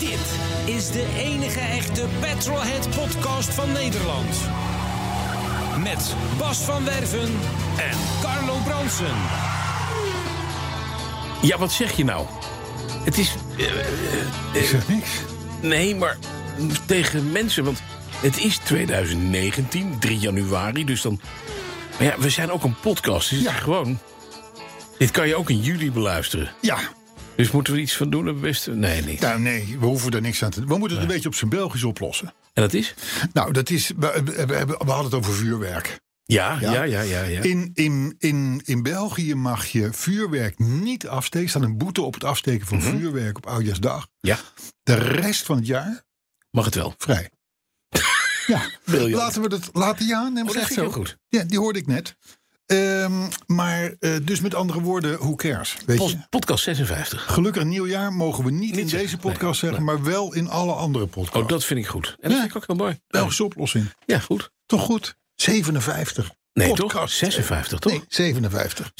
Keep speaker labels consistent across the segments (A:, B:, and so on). A: Dit is de enige echte Petrolhead podcast van Nederland. Met Bas van Werven en Carlo Bronsen.
B: Ja, wat zeg je nou? Het is... eh,
C: Ik zeg niks.
B: nee, maar tegen mensen, want het is 2019, 3 januari, dus dan... Maar ja, we zijn ook een podcast, dus het
C: Ja.
B: is gewoon... Dit kan je ook in juli beluisteren.
C: Ja.
B: Dus moeten we er iets van doen, het beste? Nee, niet.
C: Nou, nee, we hoeven er niks aan te doen. We moeten het een beetje op zijn Belgisch oplossen.
B: En dat is?
C: Nou, dat is. We, we- we hebben- we hadden het over vuurwerk.
B: Ja, ja,
C: Ja.
B: ja, ja, ja.
C: In, in, in, in België mag je vuurwerk niet afsteken. Er staat een boete op het afsteken
B: Mhm.
C: van vuurwerk op Oudjaarsdag.
B: Ja,
C: De rest van het jaar
B: mag het wel.
C: vrij. ja,
B: Briljant.
C: laten we dat laten ja,
B: Oh,
C: neem
B: dat
C: echt
B: vind ik
C: zo.
B: heel goed.
C: Ja, die hoorde ik net. Ehm, maar eh, dus met andere woorden, hoe cares? Weet
B: Pos-
C: je?
B: podcast 56.
C: Gelukkig nieuwjaar mogen we niet, in
B: zeggen.
C: deze podcast zeggen, maar wel in alle andere podcasts.
B: Oh, dat vind ik goed. En dat
C: Ja.
B: vind ik ook heel mooi.
C: Belgische oplossing.
B: Ja, goed.
C: Toch goed? 57.
B: Nee, toch?
C: Podcast.
B: 56, toch?
C: Nee, 57.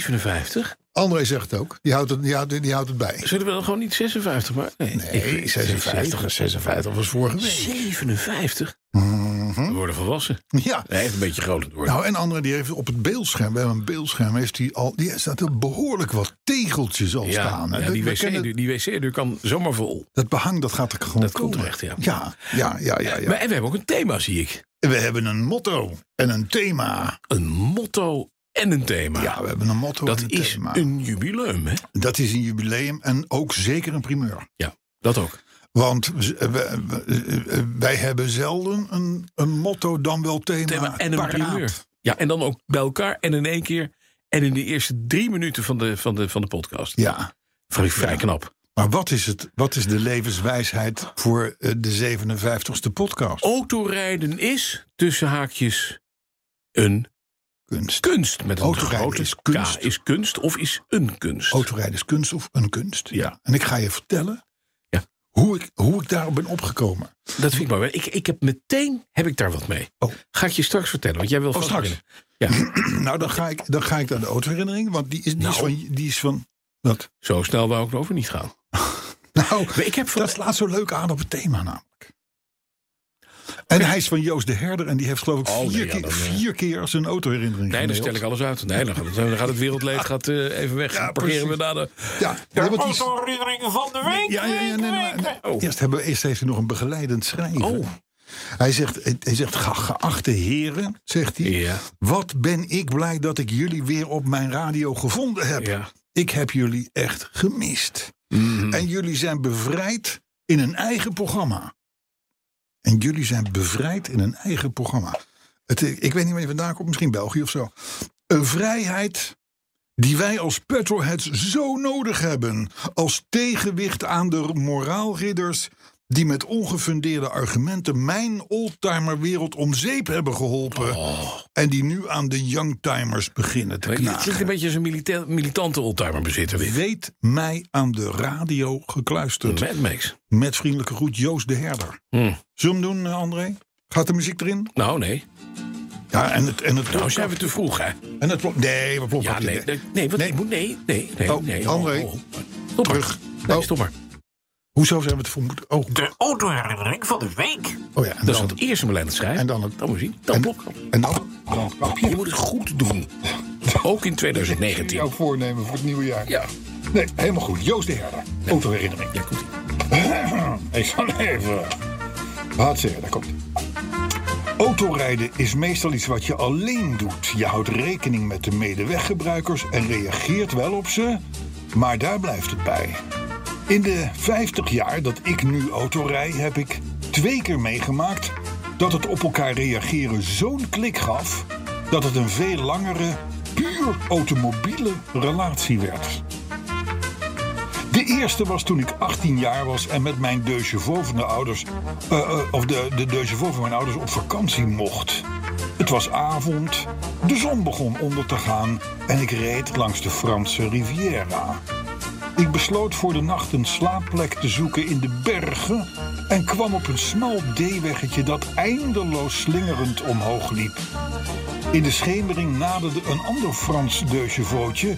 B: 57?
C: André zegt het ook. Die houdt het, die houdt, die houdt het bij.
B: Zullen we dan gewoon niet 56 maar Nee,
C: Nee, 56. 56 was vorige week.
B: 57? We worden volwassen.
C: Ja.
B: Mhm. Hij heeft een beetje groter door.
C: Nou, en andere die heeft op het beeldscherm, we hebben een beeldscherm, heeft hij al, die staat er behoorlijk wat tegeltjes al
B: ja,
C: staan.
B: ja,
C: Dat-
B: die
C: Nou, we kennen-
B: wc-deur die wc kan zomaar vol.
C: dat behang, dat gaat er gewoon
B: Dat komt
C: komen.
B: echt, ja.
C: Ja, ja, ja, ja. ja.
B: Maar, en we hebben ook een thema, zie ik.
C: We hebben een motto en een thema.
B: Een motto en een thema.
C: Ja, we hebben een motto
B: dat
C: en een
B: is
C: thema.
B: een jubileum, hè?
C: Dat is een jubileum en ook zeker een primeur.
B: Ja, dat ook.
C: Want we- we- we- wij hebben zelden een, een motto dan wel thema.
B: Thema en een
C: paraat.
B: primeur. Ja, en dan ook bij elkaar en in één keer. En in de eerste drie minuten van de, van de, van de podcast.
C: Ja.
B: Vrij, vrij knap.
C: Maar wat is, het, wat is de levenswijsheid voor eh, de 57ste podcast?
B: Autorijden is, tussen haakjes, een
C: kunst.
B: kunst. Met een
C: Autorijden
B: grote
C: is
B: K.
C: kunst. Oh,
B: is kunst of is een kunst.
C: Autorijden is kunst of een kunst.
B: Ja.
C: En ik ga je vertellen
B: Ja.
C: hoe, ik, hoe ik daarop ben opgekomen.
B: Dat vind ik mooi. Ik, ik heb meteen heb ik daar wat mee.
C: Oh.
B: Ga ik je straks vertellen, want jij wil
C: Oh,
B: vast
C: straks.
B: beginnen. Ja,
C: Nou, dan ga ik, dan ga ik naar de autoherinnering, want die is, die is
B: Nou.
C: van... Die is van wat?
B: zo snel wou ik erover niet gaan.
C: Nou,
B: Maar ik heb van-
C: dat slaat zo leuk aan op het thema namelijk. En hij is van Joost de Herder en die heeft geloof ik
B: Oh, nee,
C: vier,
B: ja,
C: keer,
B: dan, eh.
C: vier keer zijn autoherinnering
B: Nee, dan
C: gemaild.
B: stel ik alles uit. Nee, dan gaat het, dan gaat het wereldleed gaat, eh, even weg.
C: Ja,
B: Dan parkeren we
C: precies.
B: naar de...
C: Ja, nee, want die is-
A: Autoherinnering van de week.
C: Ja, ja, ja, nee, nee, nee.
B: Oh.
C: Eerst, hebben, eerst heeft hij nog een begeleidend schrijven.
B: Oh.
C: Hij zegt, hij zegt, "Ge- geachte heren, zegt hij,
B: Ja.
C: wat ben ik blij dat ik jullie weer op mijn radio gevonden heb.
B: Ja.
C: Ik heb jullie echt gemist. En jullie zijn bevrijd in een eigen programma. En jullie zijn bevrijd in een eigen programma. Het, eh, ik weet niet waar je vandaan komt, misschien België of zo. Een vrijheid die wij als petrolheads zo nodig hebben. Als tegenwicht aan de moraalridders die met ongefundeerde argumenten mijn oldtimer wereld om zeep hebben geholpen. En die nu aan de youngtimers beginnen te
B: Het klinkt een
C: knagen.
B: beetje als een milita- militante oldtimer bezitter dit.
C: Weet mij aan de radio gekluisterd.
B: Mad Max.
C: Met vriendelijke groet Joost de Herder.
B: Hm.
C: Zullen we hem doen, eh, André? Gaat de muziek erin?
B: Nou, nee.
C: Ja, en het... En het
B: Nou zijn we te vroeg, hè?
C: en het plop- nee, we ploppen
B: Ja,
C: het
B: nee.
C: niet.
B: Nee, nee, wat,
C: Nee.
B: nee, nee, nee. nee,
C: Oh,
B: nee.
C: André.
B: Stop
C: Terug.
B: maar. Nee,
C: Oh.
B: stop maar.
C: Hoezo zijn we het vermoed? Oh,
A: De autoherinnering van de week.
C: oh ja, en
B: Dat is
C: dan-
B: het eerste beleid schrijven.
C: En dan het-
B: Dan moet je zien. Dan
C: en-
B: blok.
C: En dan?
B: Je moet het goed doen. Ook in 2019.
C: Jouw voornemen voor het nieuwe jaar.
B: Ja.
C: Nee, helemaal goed. Joost de Herder. Autoherinnering.
B: Ja, komt
C: Ik zal even. Laat zeggen, daar komt ie. Autorijden is meestal iets wat je alleen doet. Je houdt rekening met de medeweggebruikers en reageert wel op ze, maar daar blijft het bij. In de 50 jaar dat ik nu autorij heb ik twee keer meegemaakt dat het op elkaar reageren zo'n klik gaf dat het een veel langere, puur automobiele relatie werd. eerste was toen ik 18 jaar was en met mijn deux chevaux van de ouders, eh, eh, of de, de deux chevaux van mijn ouders op vakantie mocht. Het was avond, de zon begon onder te gaan en ik reed langs de Franse Riviera. Ik besloot voor de nacht een slaapplek te zoeken in de bergen en kwam op een smal D-weggetje dat eindeloos slingerend omhoog liep. In de schemering naderde een ander Frans deuchevootje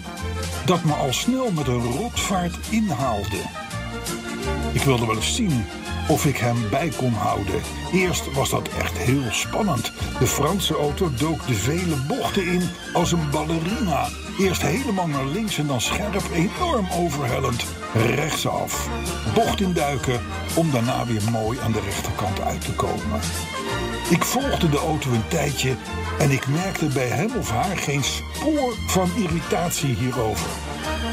C: dat me al snel met een rotvaart inhaalde. Ik wilde wel eens zien of ik hem bij kon houden. Eerst was dat echt heel spannend. De Franse auto dook de vele bochten in als een ballerina. Eerst helemaal naar links en dan scherp, enorm overhellend, rechtsaf. Bocht induiken om daarna weer mooi aan de rechterkant uit te komen. Ik volgde de auto een tijdje en ik merkte bij hem of haar geen spoor van irritatie hierover.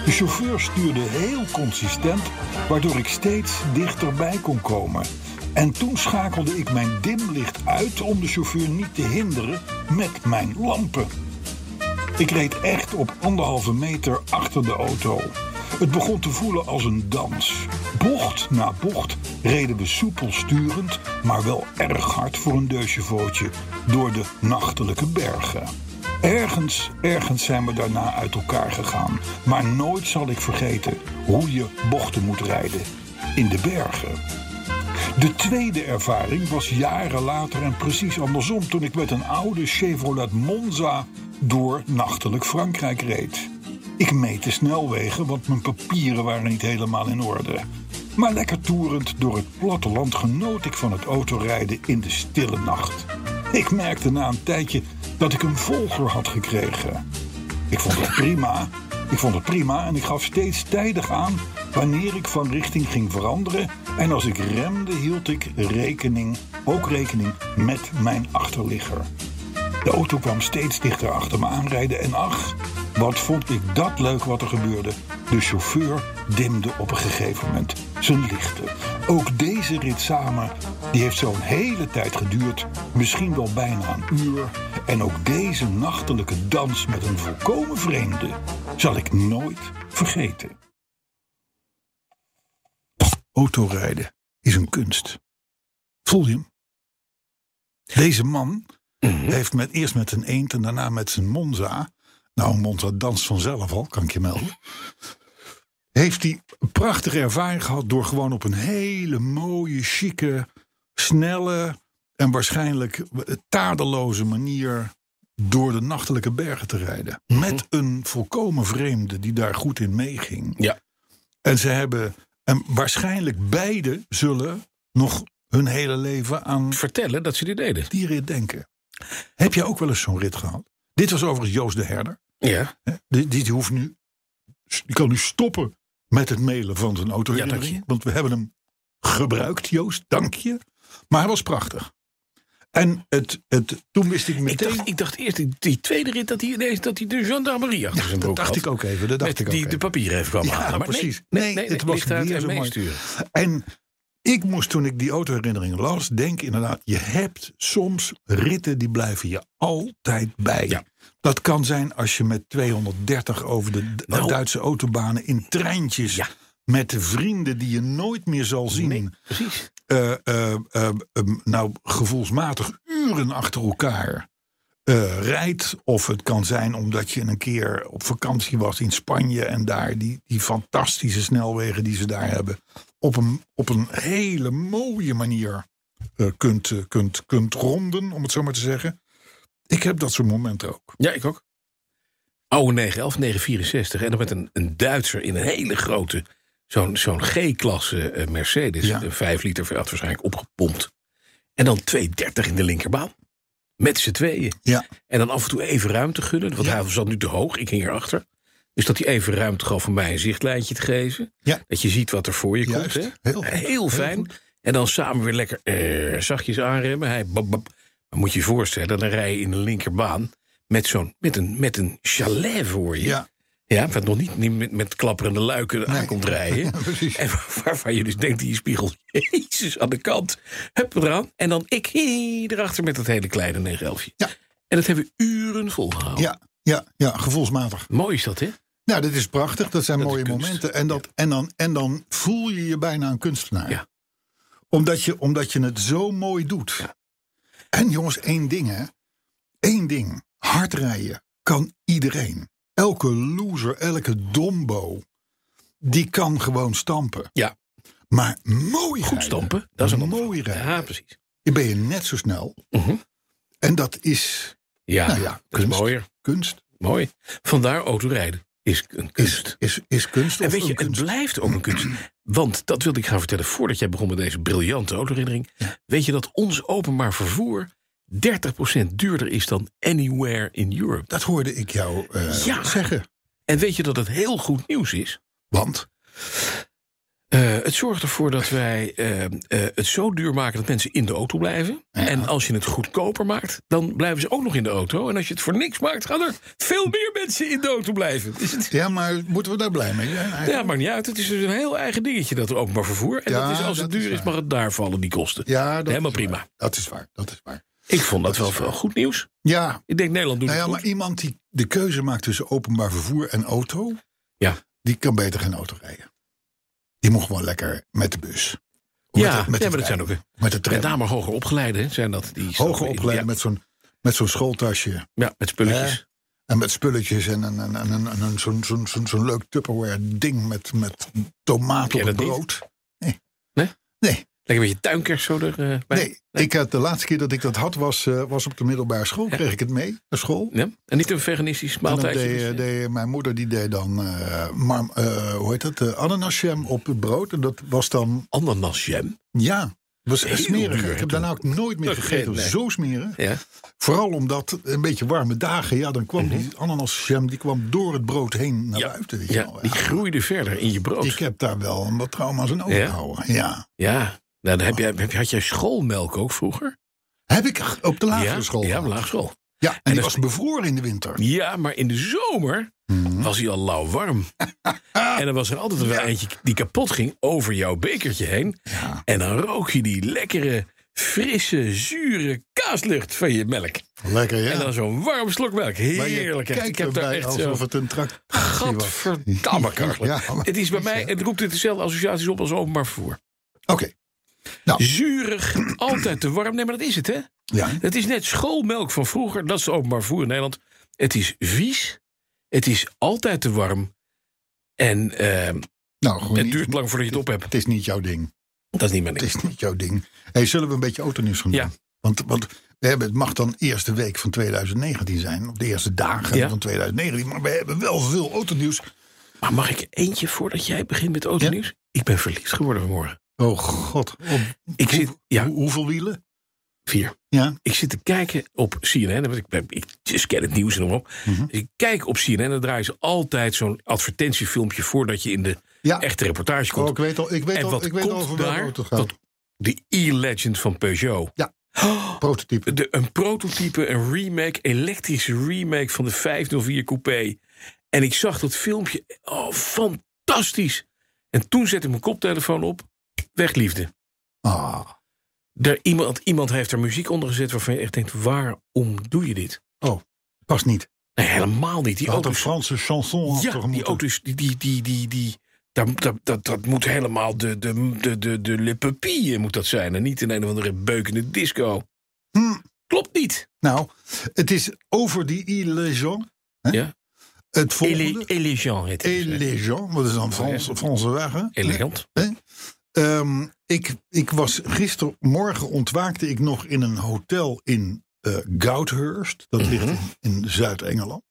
C: De chauffeur stuurde heel consistent, waardoor ik steeds dichterbij kon komen. En toen schakelde ik mijn dimlicht uit om de chauffeur niet te hinderen met mijn lampen. Ik reed echt op anderhalve meter achter de auto. Het begon te voelen als een dans. Bocht na bocht reden we soepel sturend, maar wel erg hard voor een deusjevootje door de nachtelijke bergen. Ergens, ergens zijn we daarna uit elkaar gegaan, maar nooit zal ik vergeten hoe je bochten moet rijden in de bergen. De tweede ervaring was jaren later en precies andersom toen ik met een oude Chevrolet Monza door nachtelijk Frankrijk reed. Ik meet de snelwegen, want mijn papieren waren niet helemaal in orde. Maar lekker toerend door het platteland genoot ik van het autorijden in de stille nacht. Ik merkte na een tijdje dat ik een volger had gekregen. Ik vond het prima. Ik vond het prima en ik gaf steeds tijdig aan wanneer ik van richting ging veranderen. En als ik remde, hield ik rekening, ook rekening met mijn achterligger. De auto kwam steeds dichter achter me aanrijden en ach, wat vond ik dat leuk wat er gebeurde. De chauffeur dimde op een gegeven moment zijn lichten. Ook deze rit samen, die heeft zo'n hele tijd geduurd, misschien wel bijna een uur. En ook deze nachtelijke dans met een volkomen vreemde zal ik nooit vergeten. Autorijden is een kunst. Voel je hem? Deze man heeft met, eerst met een eend en daarna met zijn Monza. Nou, een Monza danst vanzelf al, kan ik je melden. Heeft hij een prachtige ervaring gehad door gewoon op een hele mooie, chique, snelle en waarschijnlijk tadeloze manier door de nachtelijke bergen te rijden. Met een volkomen vreemde die daar goed in meeging.
B: Ja.
C: En ze hebben, en waarschijnlijk beide zullen nog hun hele leven aan
B: Vertellen dat ze dit deden.
C: die rit denken. Heb jij ook wel eens zo'n rit gehad? Dit was overigens Joost de Herder.
B: Ja.
C: hè? Die, die, die hoeft nu, die kan nu stoppen met het mailen van zijn auto.
B: Ja, dank je.
C: want we hebben hem gebruikt, Joost. Dank je. Maar hij was prachtig. En het, het, toen wist ik
B: Ik
C: meteen...
B: dacht, ik dacht eerst die, die tweede rit dat hij ineens dat hij de gendarmerie achter zijn
C: dat
B: broek
C: dacht
B: had.
C: ik ook even. Dat dacht
B: Met
C: ik ook
B: die
C: even.
B: de papieren heeft kwam
C: Ja,
B: halen. Maar
C: precies.
B: Nee,
C: Nee,
B: nee, nee,
C: het was
B: licht uit
C: weer
B: en
C: zo mooi.
B: meesturen.
C: En ik moest toen ik die autoherinnering las, denk inderdaad, je hebt soms ritten die blijven je altijd bij.
B: Ja.
C: Dat kan zijn als je met 230 over de D-
B: Nou.
C: Duitse autobanen in treintjes.
B: Ja.
C: Met vrienden die je nooit meer zal zien.
B: Nee, precies.
C: eh, eh, eh, eh, nou, gevoelsmatig uren achter elkaar eh, rijdt. Of het kan zijn omdat je een keer op vakantie was in Spanje en daar die, die fantastische snelwegen die ze daar hebben, op een, op een hele mooie manier eh, kunt, eh, kunt, kunt ronden, om het zo maar te zeggen. Ik heb dat soort momenten ook.
B: Ja, ik ook. Oh, Oude 911, 964. En dan met een, een Duitser in een hele grote, zo'n zo'n G-klasse eh, Mercedes.
C: Ja.
B: Een 5 liter, had waarschijnlijk opgepompt. En dan 230 in de linkerbaan. Met z'n tweeën.
C: Ja,
B: En dan af en toe even ruimte gunnen. Want
C: Ja.
B: hij zat nu te hoog, ik ging erachter. Dus dat hij even ruimte gaf om mij een zichtlijntje te geven.
C: Ja.
B: Dat je ziet wat er voor je
C: Juist.
B: komt. Hè?
C: Heel goed. Heel
B: fijn. en dan samen weer lekker eh, zachtjes aanremmen. Hij, bap, bap. Maar moet je je voorstellen, dan rij je in de linkerbaan... met, zo'n, met, een, met een chalet voor je.
C: ja,
B: Ja, wat nog niet, niet met, met klapperende luiken aan komt rijden.
C: precies.
B: En waar- waarvan je dus denkt, die spiegel, jezus, aan de kant. Hup, eraan. En dan ik hie, erachter met dat hele kleine negelfje.
C: Ja.
B: En dat hebben we uren volgehouden.
C: ja, ja, ja, gevoelsmatig.
B: Mooi is dat, hè?
C: Nou, dat is prachtig. Dat zijn
B: Dat is
C: mooie
B: kunst.
C: momenten. En, dat, en, dan, en dan voel je je bijna een kunstenaar.
B: Ja.
C: Omdat, je, omdat je het zo mooi doet. En jongens, één ding hè. Eén ding. Hard rijden kan iedereen. Elke loser, elke dombo. Die kan gewoon stampen.
B: Ja.
C: Maar
B: Goed
C: mooi rijden,
B: stampen, dat is een ander
C: mooi rijden.
B: Ja, precies.
C: Dan ben je net zo snel.
B: Mhm.
C: En dat is
B: Ja,
C: Nou ja,
B: dat is
C: kunst.
B: mooier.
C: kunst.
B: Mooi. Vandaar autorijden is een kunst.
C: Is, is, is kunst
B: En
C: of
B: weet je,
C: een
B: het
C: kunst.
B: blijft ook een kunst. Want dat wilde ik gaan vertellen voordat jij begon met deze briljante autoherinnering. Weet je dat ons openbaar vervoer 30% duurder is dan anywhere in Europe?
C: Dat hoorde ik jou eh,
B: Ja.
C: zeggen.
B: En weet je dat het heel goed nieuws is?
C: Want
B: Eh, het zorgt ervoor dat wij eh, eh, het zo duur maken dat mensen in de auto blijven.
C: Ja.
B: En als je het goedkoper maakt, dan blijven ze ook nog in de auto. En als je het voor niks maakt, gaan er veel meer mensen in de auto blijven. Is het
C: Ja, maar moeten we daar blij mee zijn? eigenlijk?
B: Ja, maakt niet uit. Het is dus een heel eigen dingetje, dat openbaar vervoer. En
C: Ja,
B: dat is, als het
C: dat
B: duur
C: is
B: is,
C: waar.
B: mag het daar vallen, die kosten.
C: Ja, dat
B: Helemaal
C: is
B: prima.
C: waar. Dat is waar, dat is waar.
B: Ik vond dat,
C: Dat is
B: wel
C: waar.
B: goed nieuws.
C: Ja,
B: Ik denk, Nederland doet
C: nou ja,
B: het
C: maar
B: goed.
C: iemand die de keuze maakt tussen openbaar vervoer en auto,
B: Ja.
C: die kan beter geen auto rijden. Die moet gewoon lekker met de bus.
B: Ja,
C: Of de-
B: ja, maar
C: de
B: dat
C: trein.
B: zijn ook-
C: Met de
B: Met
C: trein.
B: name hoger opgeleiden hè, zijn dat. Die
C: Hoger opgeleid
B: Ja,
C: met zo'n met zo'n schooltasje.
B: ja, met spulletjes.
C: En met spulletjes en, een- en, en, en, en een- zo'n zo'n zo'n zo'n leuk Tupperware ding met, met tomaten op
B: Heb jij
C: het
B: dat
C: brood. Nee.
B: Nee?
C: Nee.
B: Lekker een beetje tuinkers zo er, eh, bij.
C: Nee, ik had, de laatste keer dat ik dat had was, eh, was op de middelbare school. Kreeg ik het mee naar school.
B: Ja? En niet een veganistisch
C: En dan
B: maaltijdje.
C: deed,
B: dus, eh,
C: deed- mijn moeder die deed dan eh, mar- eh, hoe heet dat? eh, ananasjam op het brood. En dat was dan,
B: Ananasjam.
C: ja, dat was
B: Heel
C: smerig.
B: duur
C: Ik
B: toen.
C: heb daarna ook nooit meer
B: Dat
C: gegeten.
B: geen- nee.
C: Zo smerig.
B: Ja.
C: Vooral omdat een beetje warme dagen, ja, dan kwam die ananasjam die kwam door het brood heen naar
B: Mhm. Ja.
C: buiten. Weet je
B: ja,
C: wel.
B: die groeide verder in je brood.
C: ik heb daar wel wat trauma's aan overgehouden. Ja.
B: Ja, nou, dan heb jij, heb, je- had jij schoolmelk ook vroeger?
C: Heb ik op de lagere
B: ja,
C: school.
B: Ja,
C: gehad.
B: op laagschool.
C: Ja, en, die
B: dat-
C: was bevroren in de winter.
B: Ja, maar in de zomer
C: Mhm.
B: was hij al lauw warm. en dan was er altijd wel eentje die kapot ging over jouw bekertje heen. En dan rook je die lekkere, frisse, zure kaaslucht van je melk.
C: Lekker, ja.
B: En dan zo'n warm slok melk.
C: Maar je
B: Heerlijk.
C: kijkt
B: Ik heb daar
C: erbij
B: echt
C: alsof
B: zo...
C: het een tractatie was.
B: Gadverdamme, Karel.
C: Ja, maar-
B: Het is bij mij, het roept het dezelfde associaties op als openbaar vervoer.
C: Oké,
B: Zurig, altijd te warm. Nee, maar dat is het, hè?
C: ja.
B: Het is net schoolmelk van vroeger. Dat is openbaar vervoer in Nederland. Het is vies. Het is altijd te warm. En eh,
C: Nou, gewoon
B: het
C: niet-
B: duurt lang voordat je het op hebt.
C: Het is niet jouw ding.
B: Dat is niet mijn
C: Het
B: ding.
C: is niet jouw ding. Hey, zullen we een beetje autonieuws gaan doen?
B: Ja.
C: Want, want we hebben, het mag dan eerste week van 2019 zijn. Of de eerste dagen
B: Ja.
C: van 2019. Maar we hebben wel veel autonieuws.
B: Maar mag ik eentje voordat jij begint met autonieuws? Ik ben verliefd geworden vanmorgen.
C: Oh god. Op
B: Ik zit, ja,
C: hoe- hoeveel wielen?
B: vier.
C: Ja.
B: Ik zit te kijken op CNN. Want ik, ben- ik scan het nieuws en dan op. Dus ik kijk op CNN. Dan draaien ze altijd zo'n advertentiefilmpje voordat je in de
C: Ja.
B: echte reportage komt.
C: Oh, ik weet al, ik weet
B: en
C: al,
B: wat
C: ik weet al
B: komt
C: over welke
B: daar?
C: auto het gaat.
B: Wat- de e-legend van Peugeot.
C: Ja.
B: Oh,
C: Prototype.
B: de, een prototype, een remake, elektrische remake van de 504 Coupé. En ik zag dat filmpje. Oh, fantastisch. En toen zette ik mijn koptelefoon op. Weg, liefde.
C: Ah.
B: Er, iemand, iemand heeft er muziek onder gezet waarvan je echt denkt: waarom doe je dit?
C: Oh, past niet.
B: Nee, helemaal niet. Die
C: Je had een
B: auto's.
C: Franse chanson had
B: Ja,
C: toch
B: die
C: moeten-
B: auto's, die, die, die, die, die, dat, dat, dat, dat moet helemaal de, de, de, de, de Le Papier moet dat zijn. En niet in een of andere beukende disco.
C: Hm.
B: Klopt niet.
C: Nou, het is over die illusion. Hè?
B: Ja.
C: Het volgende.
B: Ele- elegant heet het.
C: Elegant, wat is dan Frans, Franse weg, hè?
B: Elegant.
C: Ehm, ik, ik was gistermorgen ontwaakte ik nog in een hotel in eh Goudhurst. Dat ligt
B: Mhm.
C: in, in Zuid-Engeland.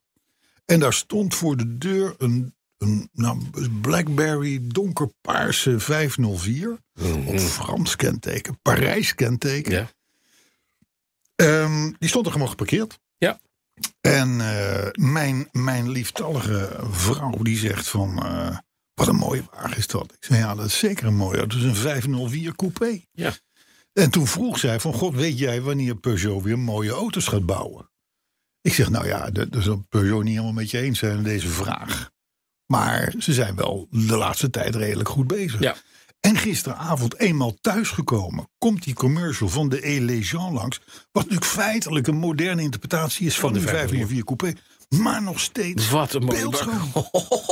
C: En daar stond voor de deur een, een nou, Blackberry donkerpaarse 504. Op Frans kenteken, Parijs kenteken.
B: Mhm. Ja.
C: Ehm, die stond er gewoon geparkeerd.
B: Ja.
C: En eh, mijn, mijn lieftallige vrouw die zegt van... eh, wat een mooie wagen is dat. Ik zei, ja, dat is zeker een mooie. Dat is een 504 coupé.
B: Ja.
C: En toen vroeg zij van... God, weet jij wanneer Peugeot weer mooie auto's gaat bouwen? Ik zeg, nou ja, dat dat zal Peugeot niet helemaal met je eens zijn in deze vraag. Maar ze zijn wel de laatste tijd redelijk goed bezig.
B: Ja.
C: En gisteravond, eenmaal thuisgekomen, komt die commercial van de Elegion langs. Wat natuurlijk feitelijk een moderne interpretatie is van,
B: de
C: de 504 Coupé. Maar nog steeds
B: Wat een mooie bak.
C: beeldschoon.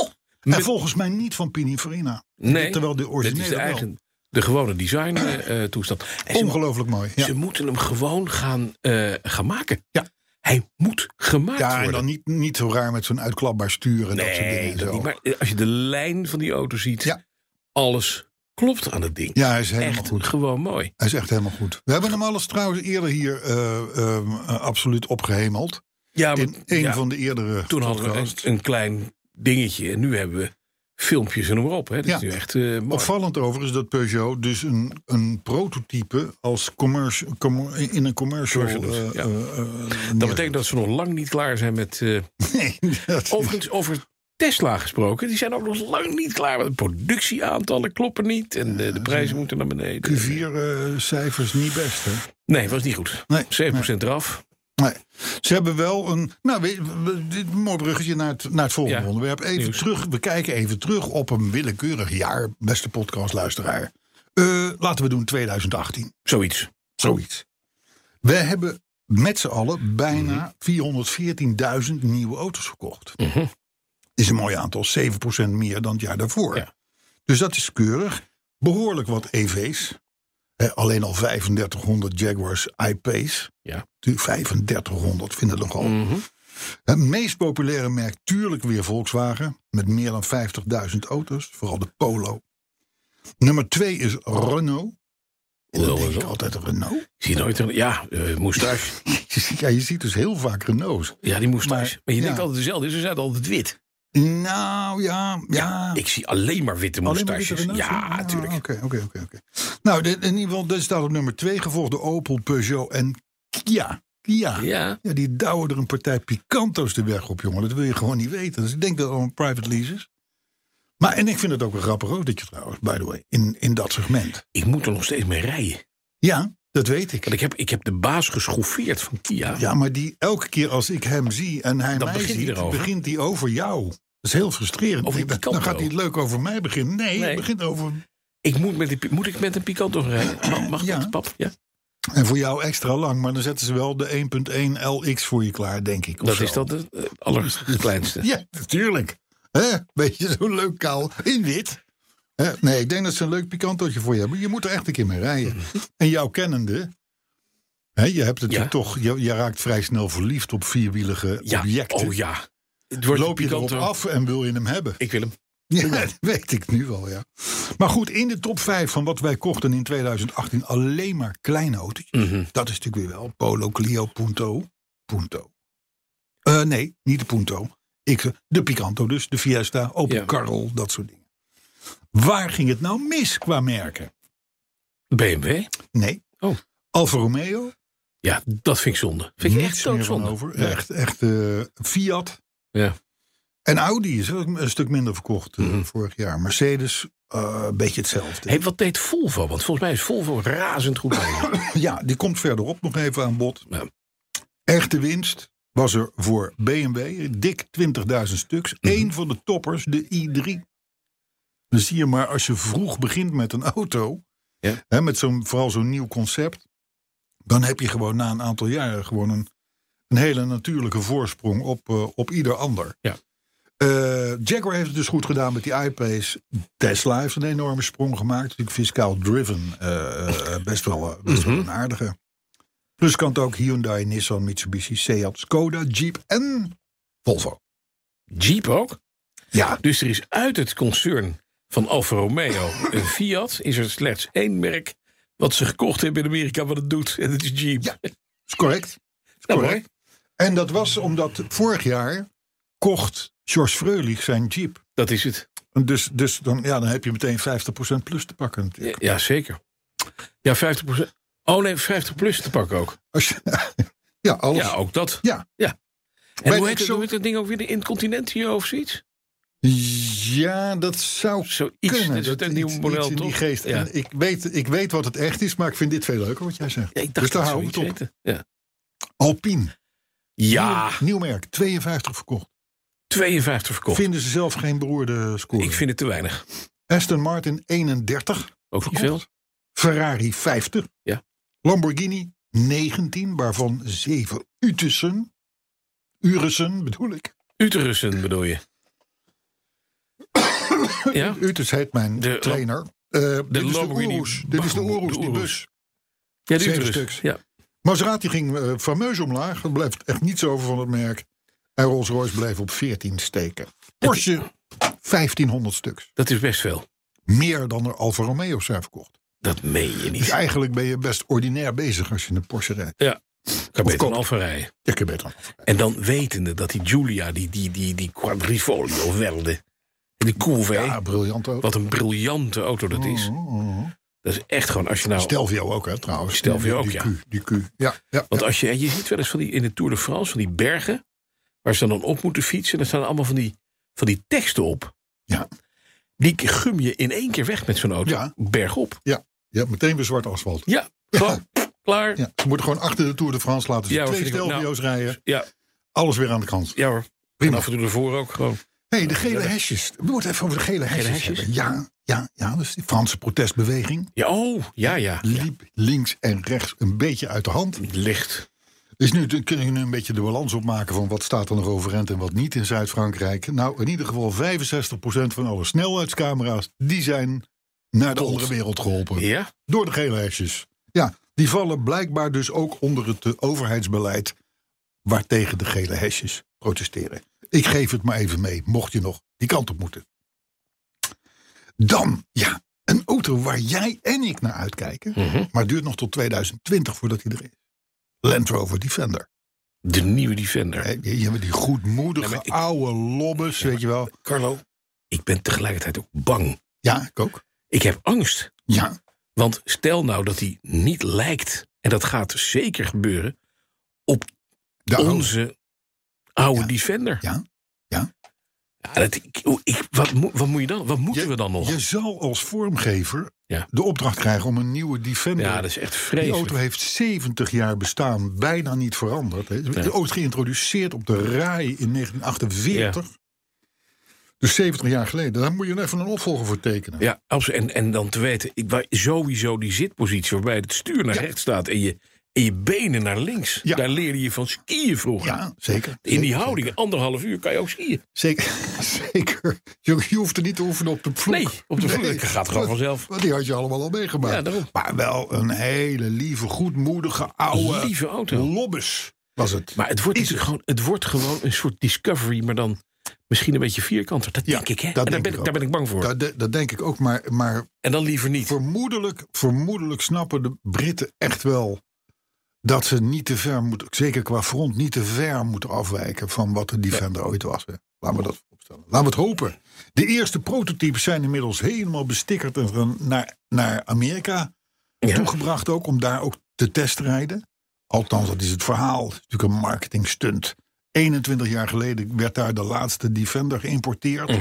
C: En
B: Met-
C: volgens mij niet van Pininfarina.
B: Nee,
C: Terwijl de
B: dit
C: originele
B: is de,
C: wel.
B: eigen, de gewone design eh, eh, toestand. En ze,
C: Ongelooflijk mooi. Ja.
B: ze moeten hem gewoon gaan, eh, gaan maken.
C: Ja.
B: Hij moet gemaakt
C: Ja, en
B: worden.
C: dan niet, niet zo raar met zo'n uitklapbaar stuur en dat soort dingen.
B: nee,
C: en
B: dat
C: zo.
B: niet. Maar eh, als je de lijn van die auto ziet,
C: Ja.
B: alles klopt aan het ding.
C: Ja, hij is helemaal
B: Echt
C: goed.
B: gewoon mooi.
C: Hij is echt helemaal goed. We hebben hem alles trouwens eerder hier eh, ehm, eh, absoluut opgehemeld.
B: Ja, maar-
C: In een
B: ja,
C: van de eerdere
B: toen hadden we een,
C: podcasts.
B: een klein dingetje en nu hebben we filmpjes en noem maar op. Hè. Dat
C: Ja.
B: is nu echt eh, mooi.
C: Opvallend overigens dat Peugeot dus een, een prototype als commerci- commer- in een commercial...
B: Commercial doet,
C: eh,
B: ja.
C: eh, eh,
B: Dat
C: neer-
B: betekent dat ze nog lang niet klaar zijn met... eh,
C: Nee, dat-
B: Overigens, over Tesla gesproken. Die zijn ook nog lang niet klaar. want De productieaantallen kloppen niet. En eh, de, de prijzen moeten naar beneden.
C: Q4-cijfers eh, niet best, hè?
B: Nee, was niet goed.
C: Nee,
B: 7% eraf.
C: Nee. Ze hebben wel een. Nou, weet- we- dit is een mooi bruggetje naar het, naar het volgende
B: Ja,
C: onderwerp. Even
B: nieuws.
C: terug. We kijken even terug op een willekeurig jaar, beste podcastluisteraar. Eh, laten we doen 2018.
B: Zoiets.
C: Zoiets. We hebben met z'n allen
B: Mhm.
C: bijna 414.000 nieuwe auto's verkocht. Is een mooi aantal, 7% meer dan het jaar daarvoor.
B: Ja.
C: Dus dat is keurig. Behoorlijk wat EV's. Eh, alleen al 3500 Jaguars I-Pace.
B: Ja.
C: Tu- 3500 vinden we nogal.
B: Mhm.
C: Het meest populaire merk, tuurlijk weer Volkswagen. Met meer dan 50.000 auto's. Vooral de Polo. Nummer 2 is Renault. En dan
B: Hoewel,
C: denk ik
B: hoewel.
C: altijd Renault.
B: Ik zie nooit een... Ja, eh moustache.
C: Ja, je ziet dus heel vaak Renaults.
B: Ja, die moustache. Maar,
C: Maar-
B: je
C: ja.
B: denkt altijd dezelfde. Ze zijn altijd wit.
C: Nou ja, ja.
B: Ik zie alleen maar witte
C: Alleen maar witte
B: moustaches.
C: Renaults,
B: Ja, natuurlijk.
C: Oké, oké, oké, oké. Nou, dit- in ieder geval, dit staat op nummer 2, gevolgd door Opel, Peugeot en Kia. Kia.
B: Ja.
C: Ja, die douwen er een partij Picanto's de weg op, jongen. Dat wil je gewoon niet weten. Dus ik denk dat het allemaal private leases. Maar, en ik vind het ook een grappig autootje trouwens, by the way, in, in dat segment.
B: Ik moet er nog steeds mee rijden.
C: Ja, dat weet ik.
B: Want ik heb, ik heb de baas geschoffeerd van Kia.
C: Ja, maar die, elke keer als ik hem zie en hij
B: Dan
C: mij
B: begint hij
C: ziet,
B: erover.
C: begint hij over jou. Dat is heel frustrerend.
B: Over die
C: dan
B: Picanto.
C: gaat hij leuk over mij beginnen. Nee,
B: Nee.
C: hij begint over...
B: Ik moet, met die, pi- moet ik met een Picanto gaan rijden? Mag, mag
C: Ja.
B: dat, pap? Ja.
C: En voor jou extra lang, maar dan zetten ze wel de 1.1 LX voor je klaar, denk ik. of
B: Dat
C: zo.
B: is dan het eh, allerkleinste.
C: Ja, natuurlijk. Hè, beetje zo leuk kaal in wit. Hè, nee, ik denk dat ze een leuk picantootje voor je hebben. Je moet er echt een keer mee rijden. En jouw kennende... Hè, je, hebt het
B: Ja.
C: je toch, je, je raakt vrij snel verliefd op vierwielige
B: ja.
C: objecten.
B: Oh ja. Het wordt
C: Loop je erop
B: pikanter.
C: af en wil je hem hebben?
B: Ik wil hem.
C: Ja, dat weet ik nu wel, ja. Maar goed, in de top 5 van wat wij kochten in 2018 alleen maar kleine autootjes.
B: Mhm.
C: Dat is natuurlijk weer wel Polo, Clio, Punto. Punto. Eh, nee, niet de Punto. Ik, eh, de Picanto dus, de Fiesta, Opel
B: Ja.
C: Karl, dat soort dingen. Waar ging het nou mis qua merken?
B: BMW?
C: Nee.
B: Oh.
C: Alfa Romeo.
B: Ja, dat vind ik zonde. Vind ik
C: niets
B: echt
C: meer van
B: doodzonde.
C: Over.
B: Ja.
C: Echt, echt eh, Fiat.
B: Ja.
C: En Audi is ook een stuk minder verkocht eh,
B: Mhm.
C: vorig jaar. Mercedes, eh, een beetje hetzelfde.
B: Hey, wat deed Volvo? Want volgens mij is Volvo razend goed bezig.
C: Ja, die komt verderop nog even aan bod.
B: Ja.
C: Echte winst was er voor BMW dik 20.000 stuks.
B: Mhm.
C: Eén van de toppers, de i3. Dus zie je maar, als je vroeg begint met een auto,
B: Ja.
C: hè, met zo'n, vooral zo'n nieuw concept, dan heb je gewoon na een aantal jaren gewoon een, een hele natuurlijke voorsprong op, eh, op ieder ander.
B: Ja.
C: Eh, Jaguar heeft het dus goed gedaan met die iPace. Tesla heeft een enorme sprong gemaakt. Natuurlijk fiscaal driven. eh, eh, best wel, eh, best wel een aardige. Plus kan het ook Hyundai, Nissan, Mitsubishi, Seat, Skoda, Jeep en Volvo.
B: Jeep ook.
C: Ja,
B: Dus er is uit het concern van Alfa Romeo een Fiat. Is er slechts één merk wat ze gekocht hebben in Amerika wat het doet. En dat is Jeep.
C: Ja, is correct. Is
B: Nou,
C: correct. En dat was omdat vorig jaar kocht George Freulich zijn Jeep.
B: Dat is het.
C: En Dus, dus dan, ja, dan heb je meteen 50% plus te pakken natuurlijk.
B: Ja, Ja, zeker. Ja, 50%. Oh nee, 50 plus te pakken ook.
C: Als je, ja, alles.
B: Ja, ook dat.
C: Ja.
B: ja.
C: Bij
B: En hoe
C: de
B: heet, het,
C: exo-
B: hoe heet dat ding ook weer? De Incontinentio of zoiets?
C: Ja, dat zou
B: Zoiets.
C: kunnen.
B: dat is het
C: Dat
B: een nieuw
C: iets-
B: model,
C: iets in die
B: toch?
C: geest.
B: Ja.
C: En ik, weet, ik weet wat het echt is, maar ik vind dit veel leuker wat jij zegt.
B: Ja, ik dacht
C: dus daar
B: dat
C: houden we
B: zoiets
C: het op.
B: heette. Ja.
C: Alpine.
B: ja,
C: Nieuw, nieuw merk. 52 verkocht.
B: 52 verkocht.
C: Vinden ze zelf geen beroerde score.
B: ik vind het te weinig.
C: Aston Martin 31.
B: Ook niet veel.
C: Ferrari 50.
B: Ja.
C: Lamborghini 19, waarvan 7 Utussen. Urussen bedoel ik.
B: Uterussen bedoel je? ja?
C: Utus heet mijn
B: De-
C: trainer. Eh, dit is de
B: Lamborghini
C: Urus. Dit is de
B: Bugatti.
C: Urus, die
B: De
C: bus.
B: Ja, de
C: Zeven
B: Uterus.
C: stuks.
B: Ja.
C: Maserati ging eh, fameus omlaag. Er bleef echt niets over van het merk. En Rolls-Royce bleef op 14 steken. Porsche, 1500 stuks.
B: Dat is best veel.
C: Meer dan er Alfa Romeo's zijn verkocht.
B: Dat meen je
C: Dus
B: niet.
C: eigenlijk ben je best ordinair bezig als je een Porsche rijdt.
B: Ja. Ik kan beter een
C: kop.
B: Alfa rijden.
C: Ik heb beter.
B: En dan wetende dat die Giulia, die, die, die, die quadrifolio welde. Die Couvé.
C: Ja, Oh. briljant ook. Mm,
B: wat een briljante auto dat is. Dat is echt gewoon, als je nou...
C: Stelvio ook, hè, trouwens.
B: Stelvio ook,
C: die,
B: ja.
C: Q, die Q. Ja, ja.
B: Want als je, en je ziet wel eens van die, in de Tour de France, van die bergen, waar ze dan op moeten fietsen, dan staan er allemaal van die, van die teksten op.
C: Ja.
B: Die gum je in één keer weg met zo'n auto.
C: Ja.
B: Bergop.
C: Je hebt meteen weer zwart asfalt.
B: Ja, gewoon, klaar. Ja.
C: Ja, ze moeten gewoon achter de Tour de France laten ze
B: Ja, hoor,
C: twee
B: vind ik ook. nou,
C: Stelvio's rijden.
B: Ja,
C: Alles weer aan de kant.
B: hoor. En
C: Prima.
B: af en toe ervoor ook gewoon.
C: Hé, hey, de gele hesjes. We moeten even over de gele hesjes,
B: hesjes?
C: hebben. Ja, ja, ja. Dus die Franse protestbeweging
B: Ja, oh, ja, ja.
C: liep links en rechts een beetje uit de hand.
B: Licht.
C: Dus nu dan kunnen we nu een beetje de balans opmaken van wat staat er nog overeind en wat niet in Zuid-Frankrijk. Nou, in ieder geval 65% van alle snelheidscamera's, die zijn naar de
B: Tot.
C: andere wereld geholpen.
B: Ja,
C: Door de gele hesjes. Ja, die vallen blijkbaar dus ook onder het eh, overheidsbeleid waartegen de gele hesjes protesteren. Ik geef het maar even mee, mocht je nog die kant op moeten. Dan, ja, een auto waar jij en ik naar uitkijken, maar het duurt nog tot 2020 voordat hij er is. Land Rover Defender.
B: de nieuwe Defender.
C: Hè, Je je hebt die goedmoedige
B: Nee, maar ik-
C: oude lobbes, weet je wel.
B: Carlo, ik ben tegelijkertijd ook bang.
C: Ja, ik ook.
B: Ik heb angst.
C: Ja,
B: Want stel nou dat hij niet lijkt, en dat gaat zeker gebeuren, op
C: de oude.
B: onze oude
C: Ja.
B: Defender.
C: Ja. Ja.
B: Ja, dat, ik, oh, ik- wat, moet- wat moet je dan? Wat moeten
C: Je-
B: we dan nog?
C: Je zal als vormgever
B: Ja.
C: de opdracht krijgen om een nieuwe Defender
B: ja, dat is echt
C: Die
B: vreselijk.
C: auto heeft 70 jaar bestaan, bijna niet veranderd. hè. De
B: Nee.
C: auto is geïntroduceerd op de RAI in 1948. Dus 70 jaar geleden. Daar moet je even een opvolger voor tekenen.
B: Ja, absoluut. En, en dan te weten, ik, waar- sowieso die zitpositie waarbij het stuur naar rechts staat en je, en je benen naar links.
C: Ja.
B: Daar leerde je van skiën vroeger.
C: Ja, zeker.
B: In die houding, anderhalf uur kan je ook skiën.
C: Zeker. zeker. Je, je hoeft er niet te oefenen op de vloek.
B: Nee, op de vloer. Dat gaat gewoon
C: Want-
B: vanzelf.
C: Want die had je allemaal al meegemaakt.
B: Ja, daarom.
C: maar wel een hele lieve, goedmoedige, oude
B: Lieve auto.
C: lobbes was het.
B: Maar het wordt,
C: Is het.
B: gewoon, het wordt gewoon een soort discovery, maar dan misschien een beetje vierkanter. Dat
C: Ja,
B: denk ik, hè?
C: dat
B: en daar
C: denk
B: ben
C: ik
B: ik, daar
C: ook.
B: ben ik bang voor.
C: dat, dat- dat denk ik ook, maar, maar
B: en dan liever niet.
C: vermoedelijk, vermoedelijk snappen de Britten echt wel dat ze niet te ver moeten, zeker qua front, niet te ver moeten afwijken van wat de Defender ooit was. hè. Laten we dat opstellen. Laten we het hopen. De eerste prototypes zijn inmiddels helemaal bestikkerd en gaan naar, naar Amerika
B: Ja.
C: toegebracht ook om daar ook te testrijden. Althans, dat is het verhaal. Het is natuurlijk een marketingstunt. 21 jaar geleden werd daar de laatste Defender geïmporteerd.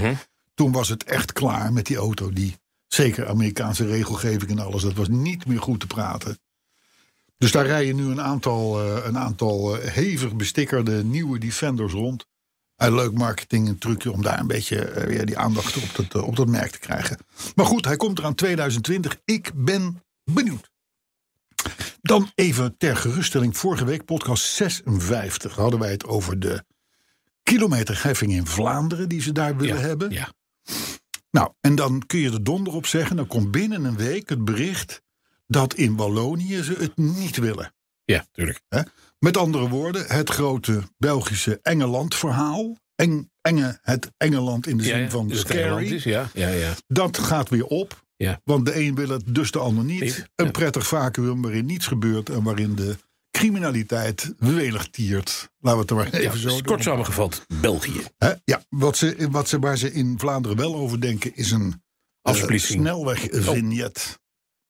C: Toen was het echt klaar met die auto. Die, zeker Amerikaanse regelgeving en alles, dat was niet meer goed te praten. Dus daar rijden nu een aantal, eh, een aantal eh, hevig bestikkerde nieuwe Defenders rond. Een leuk marketing een trucje om daar een beetje eh, weer die aandacht op dat, eh, op dat merk te krijgen. Maar goed, hij komt eraan 2020. Ik ben benieuwd. Dan even ter geruststelling. Vorige week, podcast 56, hadden wij het over de kilometerheffing in Vlaanderen die ze daar willen
B: Ja,
C: hebben.
B: ja.
C: Nou, en dan kun je er donder op zeggen. Dan komt binnen een week het bericht dat in Wallonië ze het niet willen.
B: Ja, tuurlijk.
C: Met andere woorden, het grote Belgische Engeland-verhaal. Eng, enge, het Engeland in de
B: Ja,
C: zin
B: ja.
C: van
B: Dus het Engeland
C: scary.
B: is, ja, ja, ja.
C: Dat gaat weer op.
B: Ja.
C: Want de een wil het, dus de ander niet.
B: Niet,
C: Een
B: ja.
C: prettig vacuüm waarin niets gebeurt en waarin de criminaliteit welig tiert. Laten we het er maar even
B: ja dus
C: zo doen.
B: kort samengevat, België.
C: Hè? Ja, wat ze, wat ze, waar ze in Vlaanderen wel over denken is een eh,
B: Afsplitsing.
C: snelwegvignet.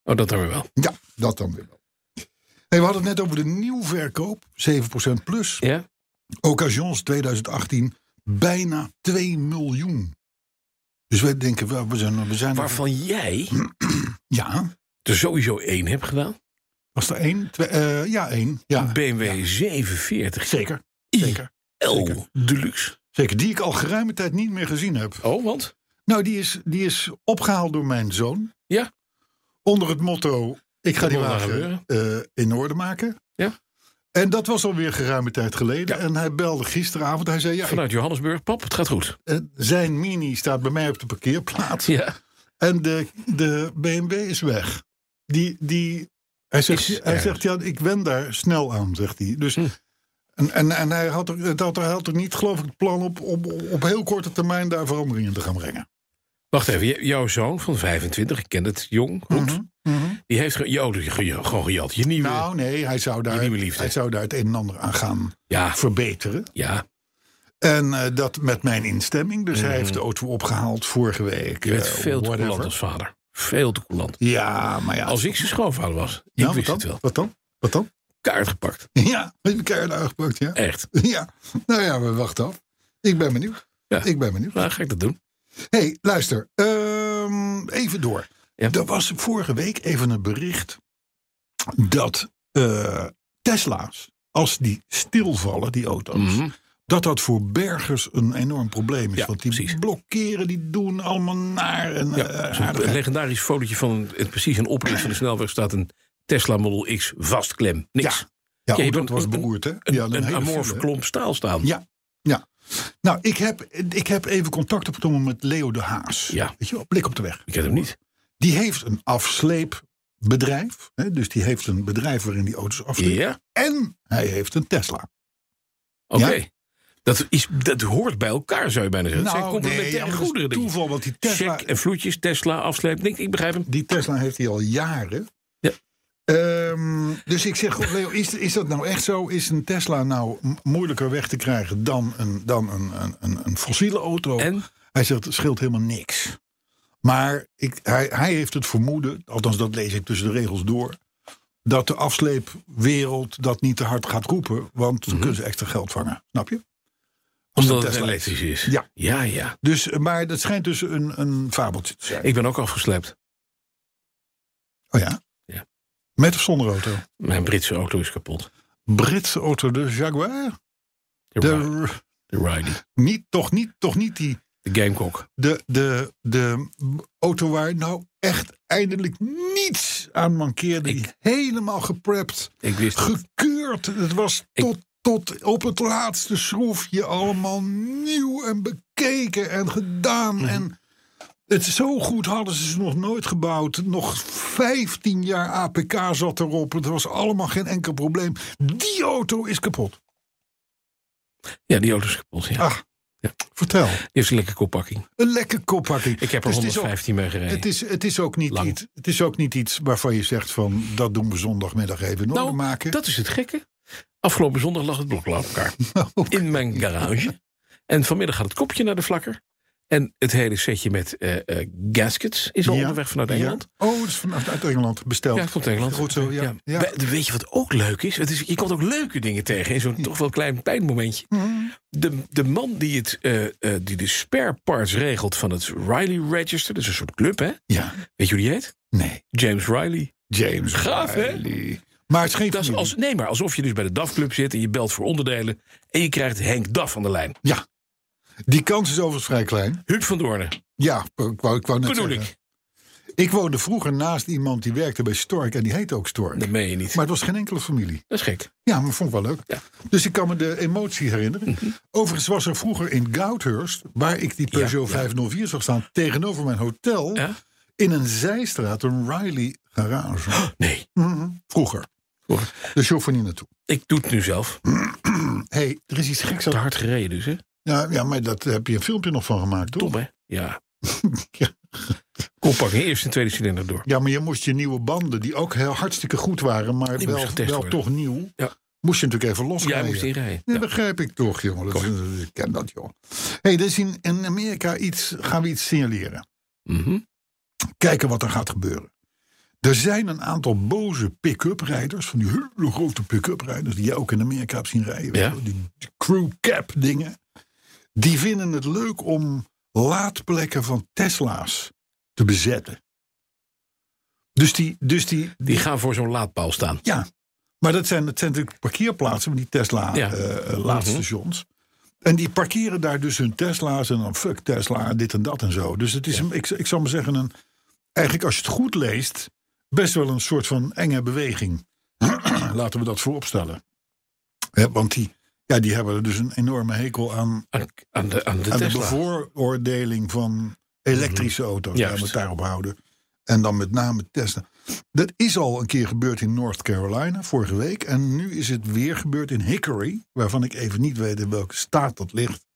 B: Oh, dat dan weer wel.
C: Ja, dat dan weer wel. Hey, we hadden het net over de nieuwverkoop, 7% plus.
B: Ja?
C: Occasions 2018 bijna 2 miljoen. Dus wij denken, wel, we zijn... We zijn
B: Waarvan jij
C: Ja,
B: er sowieso één hebt gedaan.
C: was er één? Twee, eh, ja, één. Ja.
B: Een BMW 47.
C: Zeker,
B: IL
C: zeker. zeker.
B: Deluxe.
C: Zeker, die ik al geruime tijd niet meer gezien heb.
B: Oh, want?
C: Nou, die is, die is opgehaald door mijn zoon.
B: Ja.
C: Onder het motto, ik ga
B: Dat
C: die
B: moet maar
C: wagen eh, in orde maken.
B: Ja.
C: En dat was alweer geruime tijd geleden. En hij belde gisteravond. Hij zei, ja, ik-
B: Vanuit Johannesburg, pap, het gaat goed.
C: eh, zijn mini staat bij mij op de parkeerplaats.
B: Ja.
C: En de, de BMW is weg. Die, die, hij zegt,
B: Is
C: hij
B: er.
C: zegt ja, ik wen daar snel aan, zegt hij. Dus,
B: Hm.
C: en, en, en hij had er, het had, hij had er niet, geloof ik, het plan op, op, op heel korte termijn daar veranderingen in te gaan brengen.
B: Wacht even, j- jouw zoon van 25, ik ken het, jong, goed.
C: Mhm.
B: Die heeft ge- je auto ge- gewoon gejat. Je nieuwe...
C: Nou, nee, hij zou, daar,
B: nieuwe liefde.
C: hij zou daar het een en ander aan gaan
B: ja,
C: verbeteren.
B: ja,
C: En eh, dat met mijn instemming. Dus hij heeft de auto opgehaald vorige week.
B: Mhm. je bent
C: eh,
B: veel te
C: whatever.
B: coulant als vader. Veel te coulant.
C: Ja, maar ja.
B: Als ik zijn schoonvader was, ik
C: Ja,
B: wist
C: Nou, wat
B: het
C: dan?
B: wel.
C: Wat dan? Wat dan?
B: Kaart gepakt,
C: Ja, heb je keihard aangepakt, ja.
B: echt.
C: Ja, nou ja, we wachten af. Ik ben benieuwd.
B: Ja.
C: Ik ben benieuwd.
B: Nou, ga ik dat doen.
C: Hé, hey, luister. Ehm, even door.
B: Ja.
C: Er was vorige week even een bericht dat eh, Tesla's, als die stilvallen, die auto's,
B: Mhm.
C: dat dat voor bergers een enorm probleem is.
B: Ja,
C: want die
B: precies.
C: blokkeren, die doen allemaal naar. En,
B: Ja,
C: eh,
B: zo'n
C: aardigheid.
B: legendarisch fotootje van een- het, precies een opricht van de snelweg staat een Tesla Model X vastklem. Niks.
C: Ja, ja,
B: je
C: oh,
B: bent
C: dat was
B: een-
C: beroerd, hè?
B: Een,
C: Ja,
B: een amorfe
C: klok.
B: klomp staal staan.
C: Ja. Ja. Nou, ik heb, ik heb even contact opgenomen met Leo de Haas.
B: Ja.
C: Weet je wel, blik op de weg.
B: Ik ken hem niet.
C: Die heeft een afsleepbedrijf. Hè, dus die heeft een bedrijf waarin die auto's afsleept.
B: Ja,
C: En hij heeft een Tesla.
B: oké.
C: Ja.
B: Dat, is, dat hoort bij elkaar, zou je bijna zeggen. het zijn
C: Nou, nee,
B: complementaire
C: ja, maar dat is
B: goederen. denk ik.
C: toeval, want die Tesla,
B: Check en vloedjes, Tesla, afsleep. Ik, ik begrijp hem.
C: die Tesla heeft hij al jaren.
B: Ja.
C: Ehm, dus ik zeg, goh, Leo, is, is dat nou echt zo? Is een Tesla nou m- moeilijker weg te krijgen dan een, dan een, een, een, een fossiele auto?
B: En?
C: Hij zegt, het scheelt helemaal niks. Maar ik, hij, hij heeft het vermoeden, althans dat lees ik tussen de regels door... dat de afsleepwereld dat niet te hard gaat roepen. Want dan kunnen ze extra geld vangen, snap je? Als
B: Mhm. Omdat
C: een
B: het
C: Tesla is.
B: elektrisch is.
C: Ja.
B: ja, ja.
C: Dus, maar dat schijnt dus een, een fabeltje te zijn.
B: Ik ben ook afgesleept.
C: oh ja?
B: Ja.
C: Met of zonder auto?
B: Mijn Britse auto is kapot.
C: Britse auto, de Jaguar?
B: De, Ri-
C: De,
B: de Ridey.
C: niet, toch, niet, toch niet die...
B: De Gamecock.
C: De, de, de auto waar nou echt eindelijk niets aan mankeerde. Die helemaal geprept.
B: Ik wist het.
C: gekeurd. Het was tot, tot op het laatste schroefje allemaal nieuw en bekeken en gedaan.
B: Mhm.
C: En het zo goed hadden ze ze nog nooit gebouwd. Nog 15 jaar APK zat erop. Het was allemaal geen enkel probleem. Die auto is kapot.
B: Ja, die auto is kapot. Ja.
C: Ach, vertel.
B: Die heeft een lekker koppakking.
C: Een lekker koppakking.
B: Ik heb er
C: Dus het is ook-
B: 115 mee gereden.
C: Het is, het, is ook niet
B: Lang.
C: iets, het is ook niet iets waarvan je zegt van... dat doen we zondagmiddag even in orde
B: Nou,
C: maken.
B: Dat is het gekke. Afgelopen zondag lag het blok aan elkaar. In mijn garage. En vanmiddag gaat het kopje naar de vlakker. En het hele setje met eh, eh, gaskets is al
C: Ja,
B: onderweg vanuit
C: ja.
B: Engeland.
C: Oh, het is vanuit uit Engeland besteld.
B: Ja, het komt uit Engeland.
C: Goed zo, ja. ja.
B: We- Weet je wat ook leuk is? Het is je komt ook leuke dingen tegen in zo'n toch wel klein pijnmomentje.
C: Mhm.
B: De, de man die, het, eh, eh, die de spare parts regelt van het Riley Register, dat is een soort club, hè?
C: Ja.
B: Weet je hoe die heet?
C: Nee.
B: James Riley.
C: James
B: Gaaf, hè?
C: Riley. Maar het is geen
B: Dat is
C: familie.
B: als, nee, maar alsof je dus bij de DAF-club zit en je belt voor onderdelen. en je krijgt Henk DAF aan de lijn.
C: Ja. Die kans is overigens vrij klein.
B: Huub van Doornen,
C: Ja, ik wou, ik wou net
B: bedoel
C: zeggen.
B: ik.
C: Ik woonde vroeger naast iemand die werkte bij Stork. En die heette ook Stork.
B: Dat meen je niet.
C: Maar het was geen enkele familie.
B: dat is gek.
C: Ja, maar vond ik wel leuk.
B: Ja. Mhm.
C: Dus ik kan me de emotie herinneren. Overigens was er vroeger in Goudhurst... waar ik die Peugeot
B: ja.
C: 504 zag staan... tegenover mijn hotel...
B: Ja?
C: in een zijstraat een Riley garage.
B: Nee,
C: Mhm. Vroeger.
B: Vroeger.
C: Dus je hoeft er niet naartoe.
B: ik doe het nu zelf.
C: Hé, hey, er is iets geks
B: Te
C: aan.
B: hard gereden dus, hè?
C: Ja, ja, maar dat heb je een filmpje nog van gemaakt, toch?
B: Dom, hè? Ja.
C: Ja.
B: Koppakking, eerst en tweede cilinder door.
C: Ja, maar je moest je nieuwe banden, die ook heel hartstikke goed waren, maar
B: Die
C: wel,
B: moest getest
C: wel
B: worden.
C: toch nieuw,
B: Ja.
C: moest je natuurlijk even loskrijgen.
B: Jij moest inrijden.
C: Nee,
B: Ja.
C: begrijp ik toch, jongen. Dat, is- ik ken dat, joh. hey, dus in, in Amerika iets, gaan we iets signaleren.
B: Mhm.
C: Kijken wat er gaat gebeuren. Er zijn een aantal boze pick-up rijders, van die hele grote pick-up rijders, die jij ook in Amerika hebt zien rijden. weet
B: Ja.
C: je wel, Die, die crew cap dingen. Die vinden het leuk om laadplekken van Tesla's te bezetten. Dus die, dus die,
B: Die gaan voor zo'n laadpaal staan.
C: ja, maar dat zijn, dat zijn natuurlijk parkeerplaatsen van die Tesla
B: Ja.
C: eh, eh, laadstations. En die parkeren daar dus hun Tesla's en dan fuck Tesla, dit en dat en zo. Dus het is, een, ik, ik zal maar zeggen, een, eigenlijk als je het goed leest, best wel een soort van enge beweging. Laten we dat vooropstellen. Hè, want die, ja, die hebben er dus een enorme hekel aan,
B: Aan, aan de, aan de
C: aan de
B: Tesla. Mhm.
C: bevooroordeling van elektrische auto's. Laten we
B: Juist.
C: het daarop houden. En dan met name Tesla. Dat is al een keer gebeurd in North Carolina vorige week. En nu is het weer gebeurd in Hickory. Waarvan ik even niet weet in welke staat dat ligt.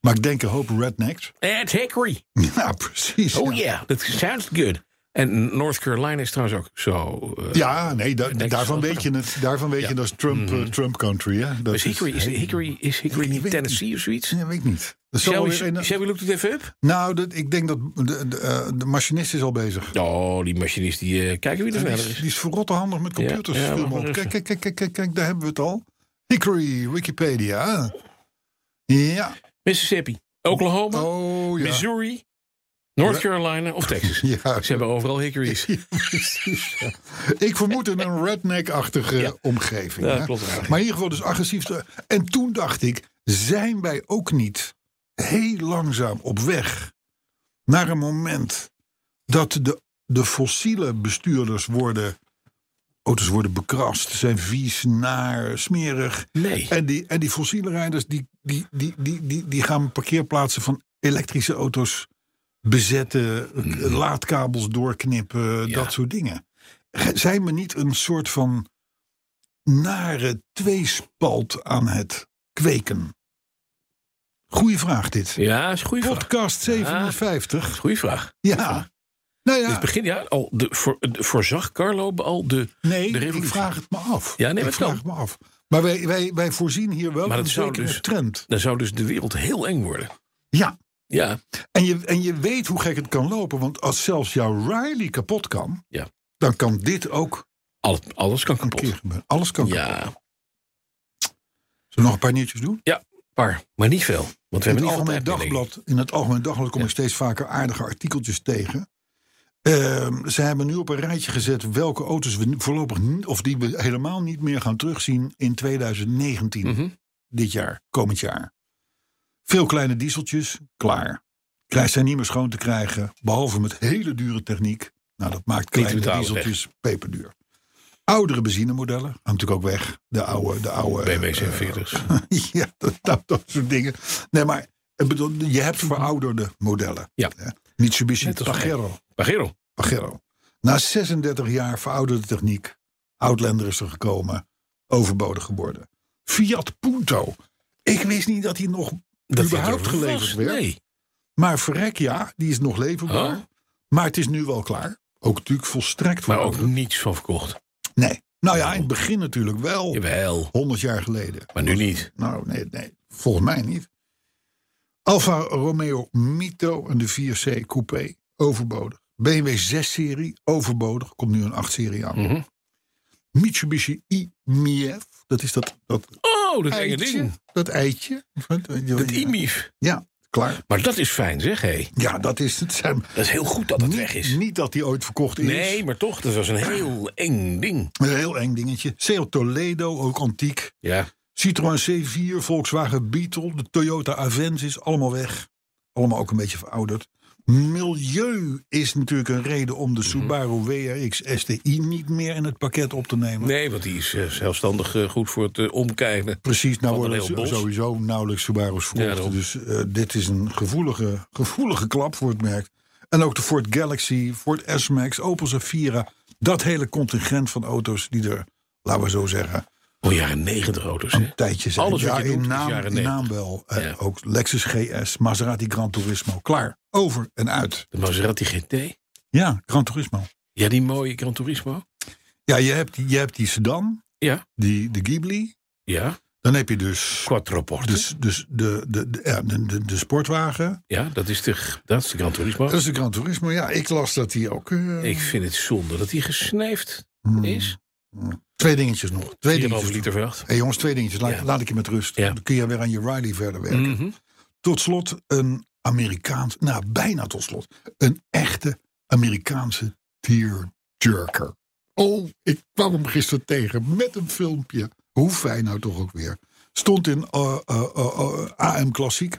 C: Maar ik denk een hoop rednecks.
B: Ed Eh, Hickory.
C: Ja, precies.
B: Oh
C: ja.
B: yeah, that sounds good. En North Carolina is trouwens ook zo. eh,
C: Ja, nee, da-
B: denk
C: daarvan,
B: dat-
C: weet je het, daarvan weet je dat is Trump, eh, Trump country. Hè? Dat
B: is Mhm. Dus Hickory, is,
C: Nee,
B: Hickory, is Hickory
C: Ik weet
B: niet
C: het
B: Tennessee of zoiets?
C: dat weet ik niet. Dat zal
B: Shelby,
C: weer een-
B: Shelby look het even up.
C: nou, dat, ik denk dat de, de, eh, de machinist is al bezig.
B: Oh, die machinist, die eh, kijken wie er
C: Die
B: sneller
C: is,
B: is.
C: die is verrotte handig met computers.
B: ja,
C: veel
B: maar
C: mogelijk.
B: rustig.
C: kijk, kijk, kijk, kijk, kijk, daar hebben we het al. Hickory, Wikipedia. Ja,
B: Mississippi, Oklahoma,
C: oh ja.
B: Oh, Missouri, North Carolina of Texas.
C: Ja.
B: Ze hebben overal Hickory's.
C: Precies, ja. Ik vermoed in een redneck-achtige omgeving.
B: Ja,
C: hè?
B: klopt eigenlijk.
C: Maar in ieder geval dus agressief. te- En toen dacht ik, zijn wij ook niet heel langzaam op weg naar een moment dat de, de fossiele bestuurders worden, auto's worden bekrast, zijn vies, naar, smerig.
B: Nee.
C: En die, en die fossiele rijders die, die, die, die, die, die gaan parkeerplaatsen van elektrische auto's bezetten, laadkabels doorknippen,
B: Hmm. Ja.
C: dat soort dingen. G- Zijn we niet een soort van nare tweespalt aan het kweken? Goeie vraag dit.
B: Ja, is een goede vraag.
C: Podcast 750.
B: Goeie vraag.
C: Ja. Nou
B: Dus
C: ja,
B: begin, ja, al de, voor, de- voorzag Carlo al de...
C: nee,
B: de
C: ik
B: revolutie.
C: vraag het me af.
B: Ja, nee, maar
C: ik vraag
B: snel.
C: het me af. Maar wij, wij, wij voorzien hier wel
B: Maar
C: een
B: dat zou
C: zekere
B: dus-
C: trend.
B: Dan zou dus de wereld heel eng worden.
C: Ja,
B: Ja,
C: En je, en je weet hoe gek het kan lopen, want als zelfs jouw Riley kapot kan,
B: Ja.
C: dan kan dit ook
B: alles, alles kan
C: een keer
B: kapot.
C: gebeuren. Alles kan kapot.
B: Ja,
C: Zullen we nog een paar nieuwtjes doen?
B: Ja, paar, maar niet veel. Want we
C: In het,
B: hebben niet
C: algemeen
B: altijd
C: dagblad, in het Algemeen Dagblad kom ik steeds vaker aardige artikeltjes tegen. Ehm, ze hebben nu op een rijtje gezet welke auto's we nu voorlopig niet, of die we helemaal niet meer gaan terugzien in 2019.
B: Mhm.
C: Dit jaar, komend jaar. Veel kleine dieseltjes, klaar. Krijg zijn niet meer schoon te krijgen, behalve met hele dure techniek. Nou, dat maakt
B: te
C: kleine
B: betalen,
C: dieseltjes peperduur. Oudere benzinemodellen gaan natuurlijk ook weg. De oude, de oude eh,
B: BB 47's.
C: ja, dat, dat, dat soort dingen. Nee, maar ik bedoel, je hebt verouderde modellen.
B: Mhm. Ja.
C: Hè? Mitsubishi
B: Net als mij.
C: Pajero.
B: Pagero.
C: Pajero. Na 36 jaar verouderde techniek. Outlander is er gekomen. Overbodig geworden. Fiat Punto. Ik wist niet dat hij nog
B: Dat
C: überhaupt
B: er
C: geleverd
B: was.
C: werd.
B: Nee.
C: Maar verrek ja, die is nog leverbaar.
B: Oh.
C: Maar het is nu wel klaar. Ook natuurlijk volstrekt
B: Maar ook
C: verouderd.
B: niets van verkocht.
C: Nee. Nou ja, in het begin natuurlijk wel.
B: Jawel.
C: 100 jaar geleden.
B: Maar nu niet.
C: Nou, nee, nee, volgens mij niet. Alfa Romeo Mito en de 4C Coupé, overbodig. BMW 6-serie, overbodig. Komt nu een 8-serie aan.
B: Mhm.
C: Mitsubishi i-MiEF, dat is dat, dat
B: Oh, dat enge
C: eitje.
B: ding.
C: Dat eitje.
B: Dat IMIF.
C: Ja, klaar.
B: Maar dat is fijn, zeg hé.
C: Ja, dat is het. Zijn,
B: Dat is heel goed dat het weg is.
C: Niet dat die ooit verkocht is.
B: Nee, maar toch, dat was een heel eng ding.
C: Een heel eng dingetje. Seat Toledo, ook antiek.
B: Ja.
C: Citroën C4, Volkswagen Beetle, de Toyota Avensis, allemaal weg. Allemaal ook een beetje verouderd. Milieu is natuurlijk een reden om de
B: Mhm.
C: Subaru WRX STI niet meer in het pakket op te nemen.
B: Nee, want die is eh, zelfstandig eh, goed voor het eh, omkijken.
C: Precies,
B: Van
C: nou
B: een
C: worden
B: heel
C: ze-
B: bos.
C: sowieso nauwelijks Subaru's verkocht.
B: daarom.
C: dus eh, dit is een gevoelige, gevoelige klap voor het merk. En ook de Ford Galaxy, Ford S-Max, Opel Zafira. Dat hele contingent van auto's die er, laten we zo zeggen,
B: Oh, jaren negentig auto's, hè?
C: tijdje zijn.
B: Alles wat
C: Ja,
B: je
C: in
B: doet is
C: naam,
B: jaren
C: in
B: 90.
C: naam wel. Eh,
B: Ja.
C: Ook Lexus GS, Maserati Gran Turismo. Klaar, over en uit.
B: De Maserati GT.
C: Ja, Gran Turismo.
B: Ja, die mooie Gran Turismo.
C: Ja, je hebt, die- je hebt die sedan,
B: Ja.
C: die, de Ghibli.
B: Ja.
C: Dan heb je dus,
B: Quattroporte.
C: dus, dus de, de, de, ja, de, de, de sportwagen.
B: Ja, dat is de, dat is de Gran Turismo.
C: Dat is de Gran Turismo. Ja, ik las dat die ook... eh,
B: Ik vind het zonde dat die gesneefd
C: hmm,
B: is.
C: Twee dingetjes nog. Twee
B: 4,5
C: dingetjes.
B: liter vracht.
C: Hé jongens, twee dingetjes. Laat,
B: Ja.
C: laat ik je met rust.
B: Ja.
C: Dan kun je weer aan je Riley verder werken.
B: Mhm.
C: Tot slot een Amerikaans, nou bijna tot slot, een echte Amerikaanse tearjerker. Oh, ik kwam hem gisteren tegen met een filmpje. Hoe fijn nou toch ook weer. Stond in eh, eh, eh, eh, AM Klassiek.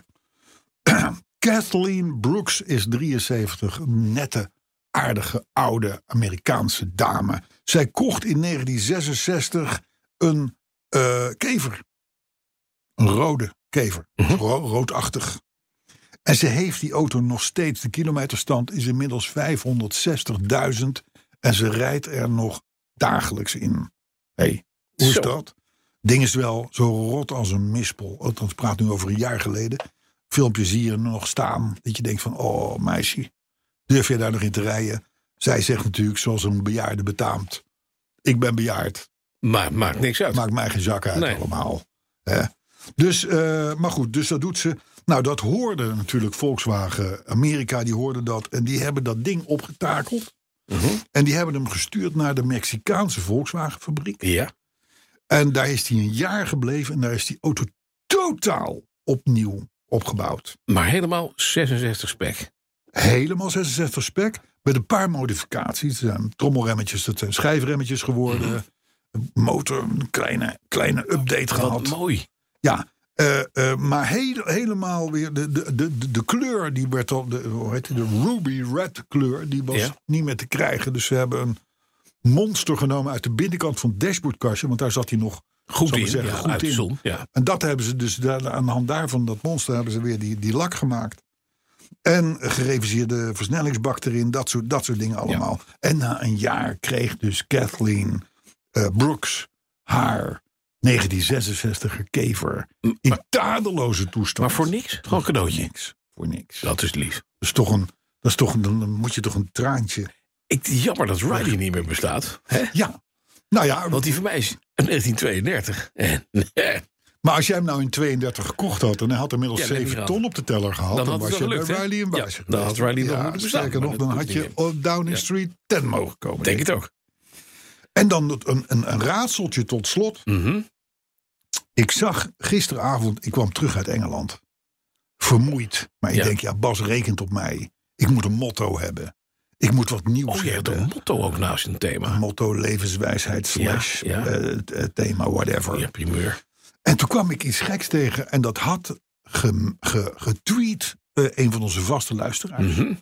C: Kathleen Brooks is 73, een nette, aardige, oude Amerikaanse dame. Zij kocht in 1966 een eh, kever. Een rode kever. Ro- roodachtig. En ze heeft die auto nog steeds. De kilometerstand is inmiddels 560.000. En ze rijdt er nog dagelijks in. hey, hoe is
B: Zo.
C: dat? Ding is wel zo rot als een mispel. Althans, ik praat nu over een jaar geleden. Filmpjes zie je nog staan. Dat je denkt van, oh meisje, durf je daar nog in te rijden? Zij zegt natuurlijk, zoals een bejaarde betaamt. Ik ben bejaard.
B: Maar maakt niks uit.
C: Maakt mij geen zak uit
B: Nee.
C: allemaal. Hè? Dus, eh, maar goed, dus dat doet ze. Nou, dat hoorde natuurlijk Volkswagen Amerika, die hoorde dat. En die hebben dat ding opgetakeld.
B: Mhm.
C: En die hebben hem gestuurd naar de Mexicaanse Volkswagen fabriek.
B: Ja.
C: En daar is hij een jaar gebleven. En daar is die auto totaal opnieuw opgebouwd.
B: Maar helemaal 66 spek.
C: Helemaal 66 spec. Met een paar modificaties. Er zijn trommelremmetjes, dat zijn schijfremmetjes geworden. Een Motor, een kleine, kleine update
B: Mhm. Wat
C: gehad.
B: mooi.
C: Ja, eh, eh, maar heel- helemaal weer de, de, de, de- de kleur die werd al, de, hoe heet die, de ruby red kleur, die was
B: Ja.
C: niet meer te krijgen. Dus ze hebben een monster genomen uit de binnenkant van het dashboardkastje, want daar zat hij nog
B: Goed
C: zal ik
B: in.
C: zeggen,
B: ja,
C: goed
B: uit de
C: in.
B: zon. Ja.
C: En dat hebben ze dus daar, aan de hand daarvan, dat monster, hebben ze weer die, die lak gemaakt. En gereviseerde versnellingsbak erin, dat soort, dat soort dingen allemaal. En na een jaar kreeg dus Kathleen eh, Brooks haar 1966 kever in tadeloze toestand.
B: Maar voor niks? Gewoon een cadeautje.
C: niks. Voor niks. Dat
B: Dat is lief.
C: is toch een, dat is toch een, dan moet je toch een traantje.
B: Ik, jammer dat Riley niet meer bestaat. Hè?
C: Ja, nou ja,
B: Want die van mij is 1932. En eh,
C: maar als jij hem nou in 32 gekocht had en hij had inmiddels
B: Ja, dat heb
C: 7
B: ik
C: ton op de teller gehad,
B: Dan
C: dan,
B: had het
C: was je
B: wel
C: bij
B: gelukt, hè?
C: Riley een
B: Ja,
C: baas.
B: dan had Riley nog
C: ja,
B: moeten bestaan,
C: Sterker
B: maar
C: nog,
B: dat
C: dan had
B: doet hij
C: je op Downing
B: Ja.
C: Street 10 mogen komen.
B: denk het ook.
C: En dan dat- een, een, een raadseltje tot slot.
B: Mhm.
C: Ik zag gisteravond, ik kwam terug uit Engeland. Vermoeid. Maar ik
B: Ja.
C: denk, ja, Bas rekent op mij. Ik moet een motto hebben. Ik moet wat nieuws
B: Oh, je hebt
C: hebben.
B: een motto ook naast een thema.
C: Motto levenswijsheid slash
B: Ja, ja.
C: eh, eh, thema whatever.
B: Ja, primeur.
C: En toen kwam ik iets geks tegen. En dat had ge- ge- getweet eh, een van onze vaste luisteraars.
B: Mhm.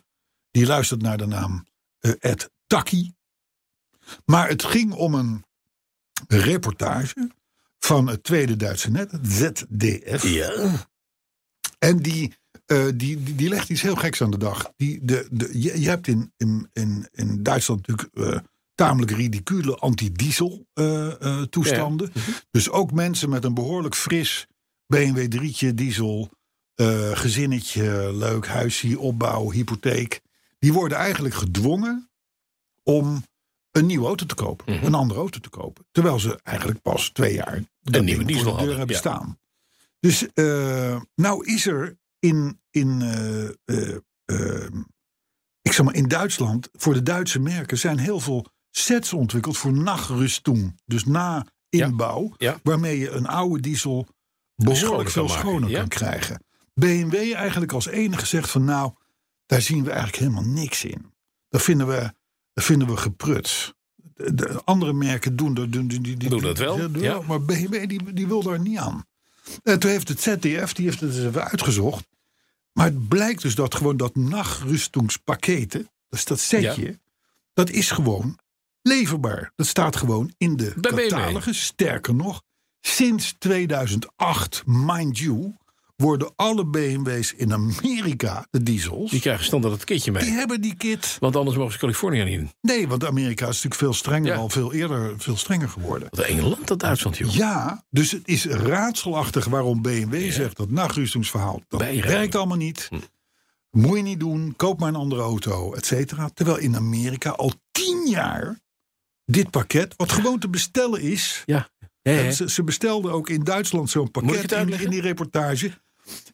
C: Die luistert naar de naam eh, Ed Taki. Maar het ging om een reportage van het tweede Duitse net, het ZDF.
B: Ja.
C: En die, eh, die, die, die legt iets heel geks aan de dag. Die, de, de, je, je hebt in, in, in, in Duitsland natuurlijk eh, tamelijk ridicule anti-diesel eh, eh, toestanden. Dus ook mensen met een behoorlijk fris BMW 3'tje diesel, eh, gezinnetje, leuk huisje, opbouw, hypotheek. Die worden eigenlijk gedwongen om een nieuwe auto te kopen.
B: Mhm.
C: Een andere auto te kopen. Terwijl ze eigenlijk pas twee jaar dat
B: nieuwe
C: ding
B: diesel
C: voor de
B: hadden,
C: deur hebben
B: ja.
C: staan. Dus eh, nou is er in, in, eh, eh, eh, ik zeg maar in Duitsland, voor de Duitse merken, zijn heel veel sets ontwikkeld voor nachtrustung. Dus na
B: Ja,
C: inbouw,
B: ja.
C: waarmee je een oude diesel
B: Schoner kan
C: behoorlijk veel
B: maken,
C: schoner
B: ja.
C: kan krijgen. BMW eigenlijk als enige zegt van nou, daar zien we eigenlijk helemaal niks in. Dat vinden we, dat vinden we gepruts. De, de andere merken doen dat, doen, die, die, die-
B: Doen dat wel,
C: die- die-
B: ja.
C: Maar BMW die, die wil daar niet aan. En Eh, toen heeft het ZDF, die heeft het eens even uitgezocht. Maar het blijkt dus dat gewoon dat nachtrustingspakketten, dus dat setje, dat is gewoon leverbaar. Dat staat gewoon in de
B: Bij BMW.
C: catalogus. Sterker nog, sinds 2008, mind you, worden alle BMW's in Amerika, de diesels,
B: Die krijgen standaard het kitje
C: die
B: mee.
C: hebben die kit.
B: Want anders mogen ze Californië niet in.
C: Nee, want Amerika is natuurlijk veel strenger,
B: Ja.
C: al veel eerder veel strenger geworden.
B: Wat Engeland, dat Duitsland, joh.
C: Ja, dus het is raadselachtig waarom BMW zegt dat nachtrüstungsverhaal dat
B: Bijrijden.
C: werkt allemaal niet.
B: Hm.
C: Moet je niet doen, koop maar een andere auto, et cetera. Terwijl in Amerika al tien jaar dit pakket, wat gewoon te bestellen is.
B: Ja. Ja, ja.
C: En Ze, ze bestelden ook in Duitsland zo'n
B: ik
C: pakket
B: Eh. het
C: in,
B: uitleggen?
C: in die reportage.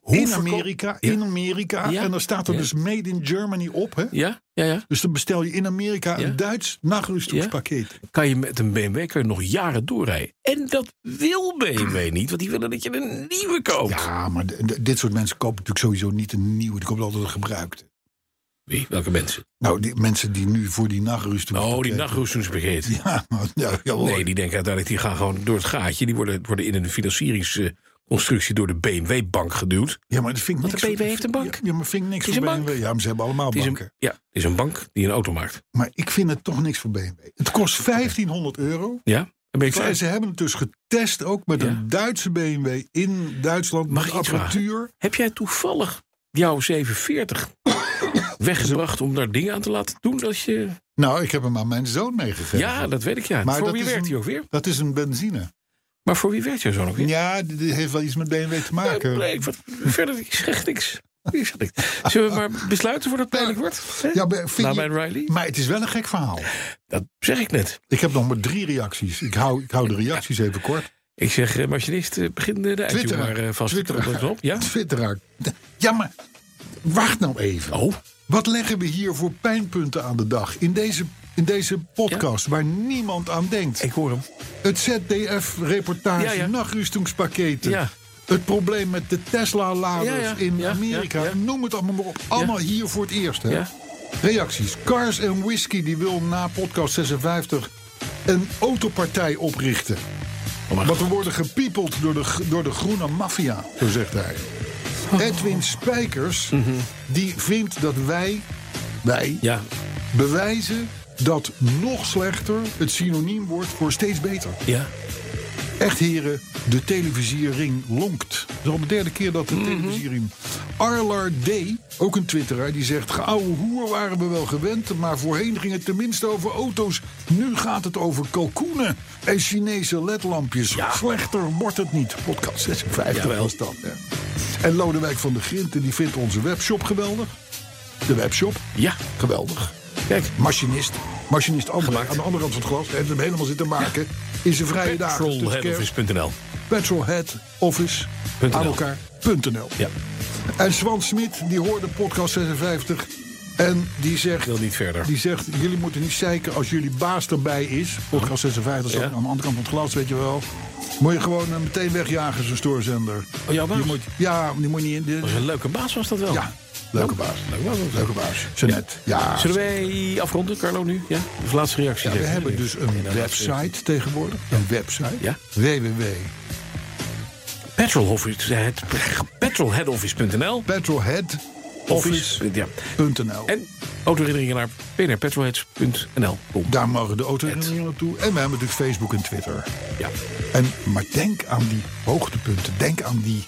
C: in
B: verkoop-
C: Amerika,
B: Ja.
C: in Amerika.
B: Ja.
C: En dan staat er
B: Ja.
C: dus Made in Germany op. Hè?
B: Ja, ja, ja.
C: Dus dan bestel je in Amerika
B: Ja.
C: een Duits nachtrüstungspakket.
B: Kan je met een BMW kan je nog jaren doorrijden. En dat wil BMW niet, want die willen dat je een nieuwe koopt.
C: Ja, maar d- d- dit soort mensen kopen natuurlijk sowieso niet een nieuwe. Die kopen altijd een gebruikte.
B: Wie? Welke mensen?
C: Nou, die mensen die nu voor die nachtrust...
B: Oh, die nachtroestingsbegeet.
C: Ja, maar, ja, jawel.
B: Nee, die denken uiteindelijk, die gaan gewoon door het gaatje. Die worden, worden in een financieringsconstructie door de BMW-bank geduwd.
C: ja, maar dat vind ik
B: Want
C: niks.
B: de BW heeft een bank.
C: Ja, maar vind ik niks
B: Het is
C: voor
B: een bank.
C: BMW. Ja, maar ze hebben allemaal
B: Het is een,
C: banken.
B: ja, het is een bank die een auto maakt.
C: Maar ik vind het toch niks voor BMW. Het kost 1500 euro.
B: Ja? Dan ben je
C: Ik zei,
B: klaar.
C: ze hebben het dus getest ook met
B: Ja.
C: een Duitse BMW in Duitsland.
B: Mag
C: met
B: ik iets
C: apparatuur.
B: Heb jij toevallig jouw 740 weggebracht om daar dingen aan te laten doen? Dat je...
C: Nou, ik heb hem aan mijn zoon meegegeven.
B: Ja, dat weet ik ja.
C: Maar
B: voor
C: dat
B: wie
C: is
B: werkt
C: een-
B: hij ook weer?
C: Dat is een benzine.
B: Maar voor wie werkt jouw zoon ook weer?
C: Ja, eh, die die heeft wel iets met BMW te
B: Nee,
C: maken.
B: nee, ik, wat, verder, ik zeg niks. Ik zeg niks. Zullen we maar besluiten voor dat het pijnlijk wordt? Hè?
C: Ja, maar, vind
B: Nou,
C: je-
B: bij Riley?
C: maar het is wel een gek verhaal.
B: Dat zeg ik net.
C: Ik heb nog maar drie reacties. Ik hou, ik hou de reacties even kort.
B: Ik zeg, eh, machinist, eh, begin de, de uitje
C: Twitteraar.
B: maar eh, vast te
C: Twitteraar.
B: knopen op. Ja?
C: Twitteraar. Ja, maar wacht nou even.
B: Oh,
C: Wat leggen we hier voor pijnpunten aan de dag? In deze, in deze podcast waar niemand aan denkt.
B: ik hoor hem.
C: Het ZDF-reportage,
B: Ja, ja.
C: nachtrustingspakketten.
B: Ja.
C: Het probleem met de Tesla-laders
B: Ja, ja.
C: in
B: Ja,
C: Amerika.
B: ja, ja.
C: Noem het allemaal maar op. Allemaal hier voor het eerst. Hè?
B: Ja.
C: Reacties. Cars en Whisky die wil na podcast 56 een autopartij oprichten. Want we worden gepiepeld door de, g- door de groene maffia, zo zegt hij.
B: Oh.
C: Edwin Spijkers, die vindt dat wij, wij
B: Mhm. Ja,
C: bewijzen dat nog slechter het synoniem wordt voor steeds beter.
B: ja.
C: Echt heren, de televisiering lonkt. Dat is al de derde keer dat de televisiering... Arlar D., ook een twitteraar, die zegt... Geouwe hoer waren we wel gewend, maar voorheen ging het tenminste over auto's. Nu gaat het over kalkoenen en Chinese ledlampjes. Slechter wordt het niet. Podcast 56
B: Jawel.
C: was dat. Hè. En Lodewijk van der Grinten, die vindt onze webshop geweldig. De webshop,
B: Ja,
C: geweldig.
B: kijk.
C: Machinist. Machinist André,
B: Gemaakt.
C: aan de andere kant van het glas. Heeft hem helemaal zitten maken. In zijn vrije Dus dagen. tussen kerk-
B: Petrolheadoffice.nl
C: petrolheadoffice
B: Punt
C: aan
B: NL.
C: elkaar.nl.
B: Ja,
C: En Swan Smit, die hoorde podcast 56 en die zegt...
B: wil niet verder.
C: Die zegt, jullie moeten niet zeiken als jullie baas erbij is. Podcast 56 staat
B: Ja.
C: aan de andere kant van het glas, weet je wel. Moet je gewoon eh, meteen wegjagen, zo'n stoorzender.
B: Oh, jouw baas?
C: Die moet, ja, die moet niet in...
B: Dat
C: De,
B: was een leuke baas, was dat wel?
C: ja, leuke baas.
B: Leuk was dat.
C: Leuke baas. Jeanette. Ja,
B: Zullen wij afronden, Carlo, nu? Ja, dus laatste reactie.
C: Ja, we
B: zeggen.
C: hebben dus een
B: nou,
C: website tegenwoordig. Een website.
B: Ja.
C: www.
B: Petrolhoffice- het- Petrolheadoffice.nl
C: petrolheadoffice.nl.
B: Ja. En autoherinneringen naar pnrpetrolheads.nl. Kom.
C: Daar mogen de autoherinneringen naartoe. En we hebben natuurlijk Facebook en Twitter.
B: Ja.
C: En, maar denk aan die hoogtepunten. Denk aan die,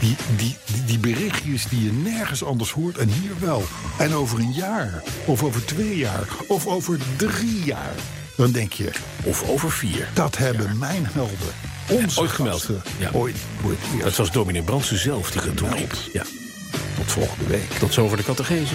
C: die, die, die, die berichtjes die je nergens anders hoort. En hier wel. En over een jaar. Of over twee jaar. Of over drie jaar. Dan denk je,
B: Of over vier.
C: dat hebben mijn helden. Onze
B: ooit gemeld.
C: gasten
B: Ja.
C: ooit voor het eerst.
B: Dat was dominee Brandsen zelf die dat toen riep. Nou, Ja. Tot volgende week. Tot zover de catechese.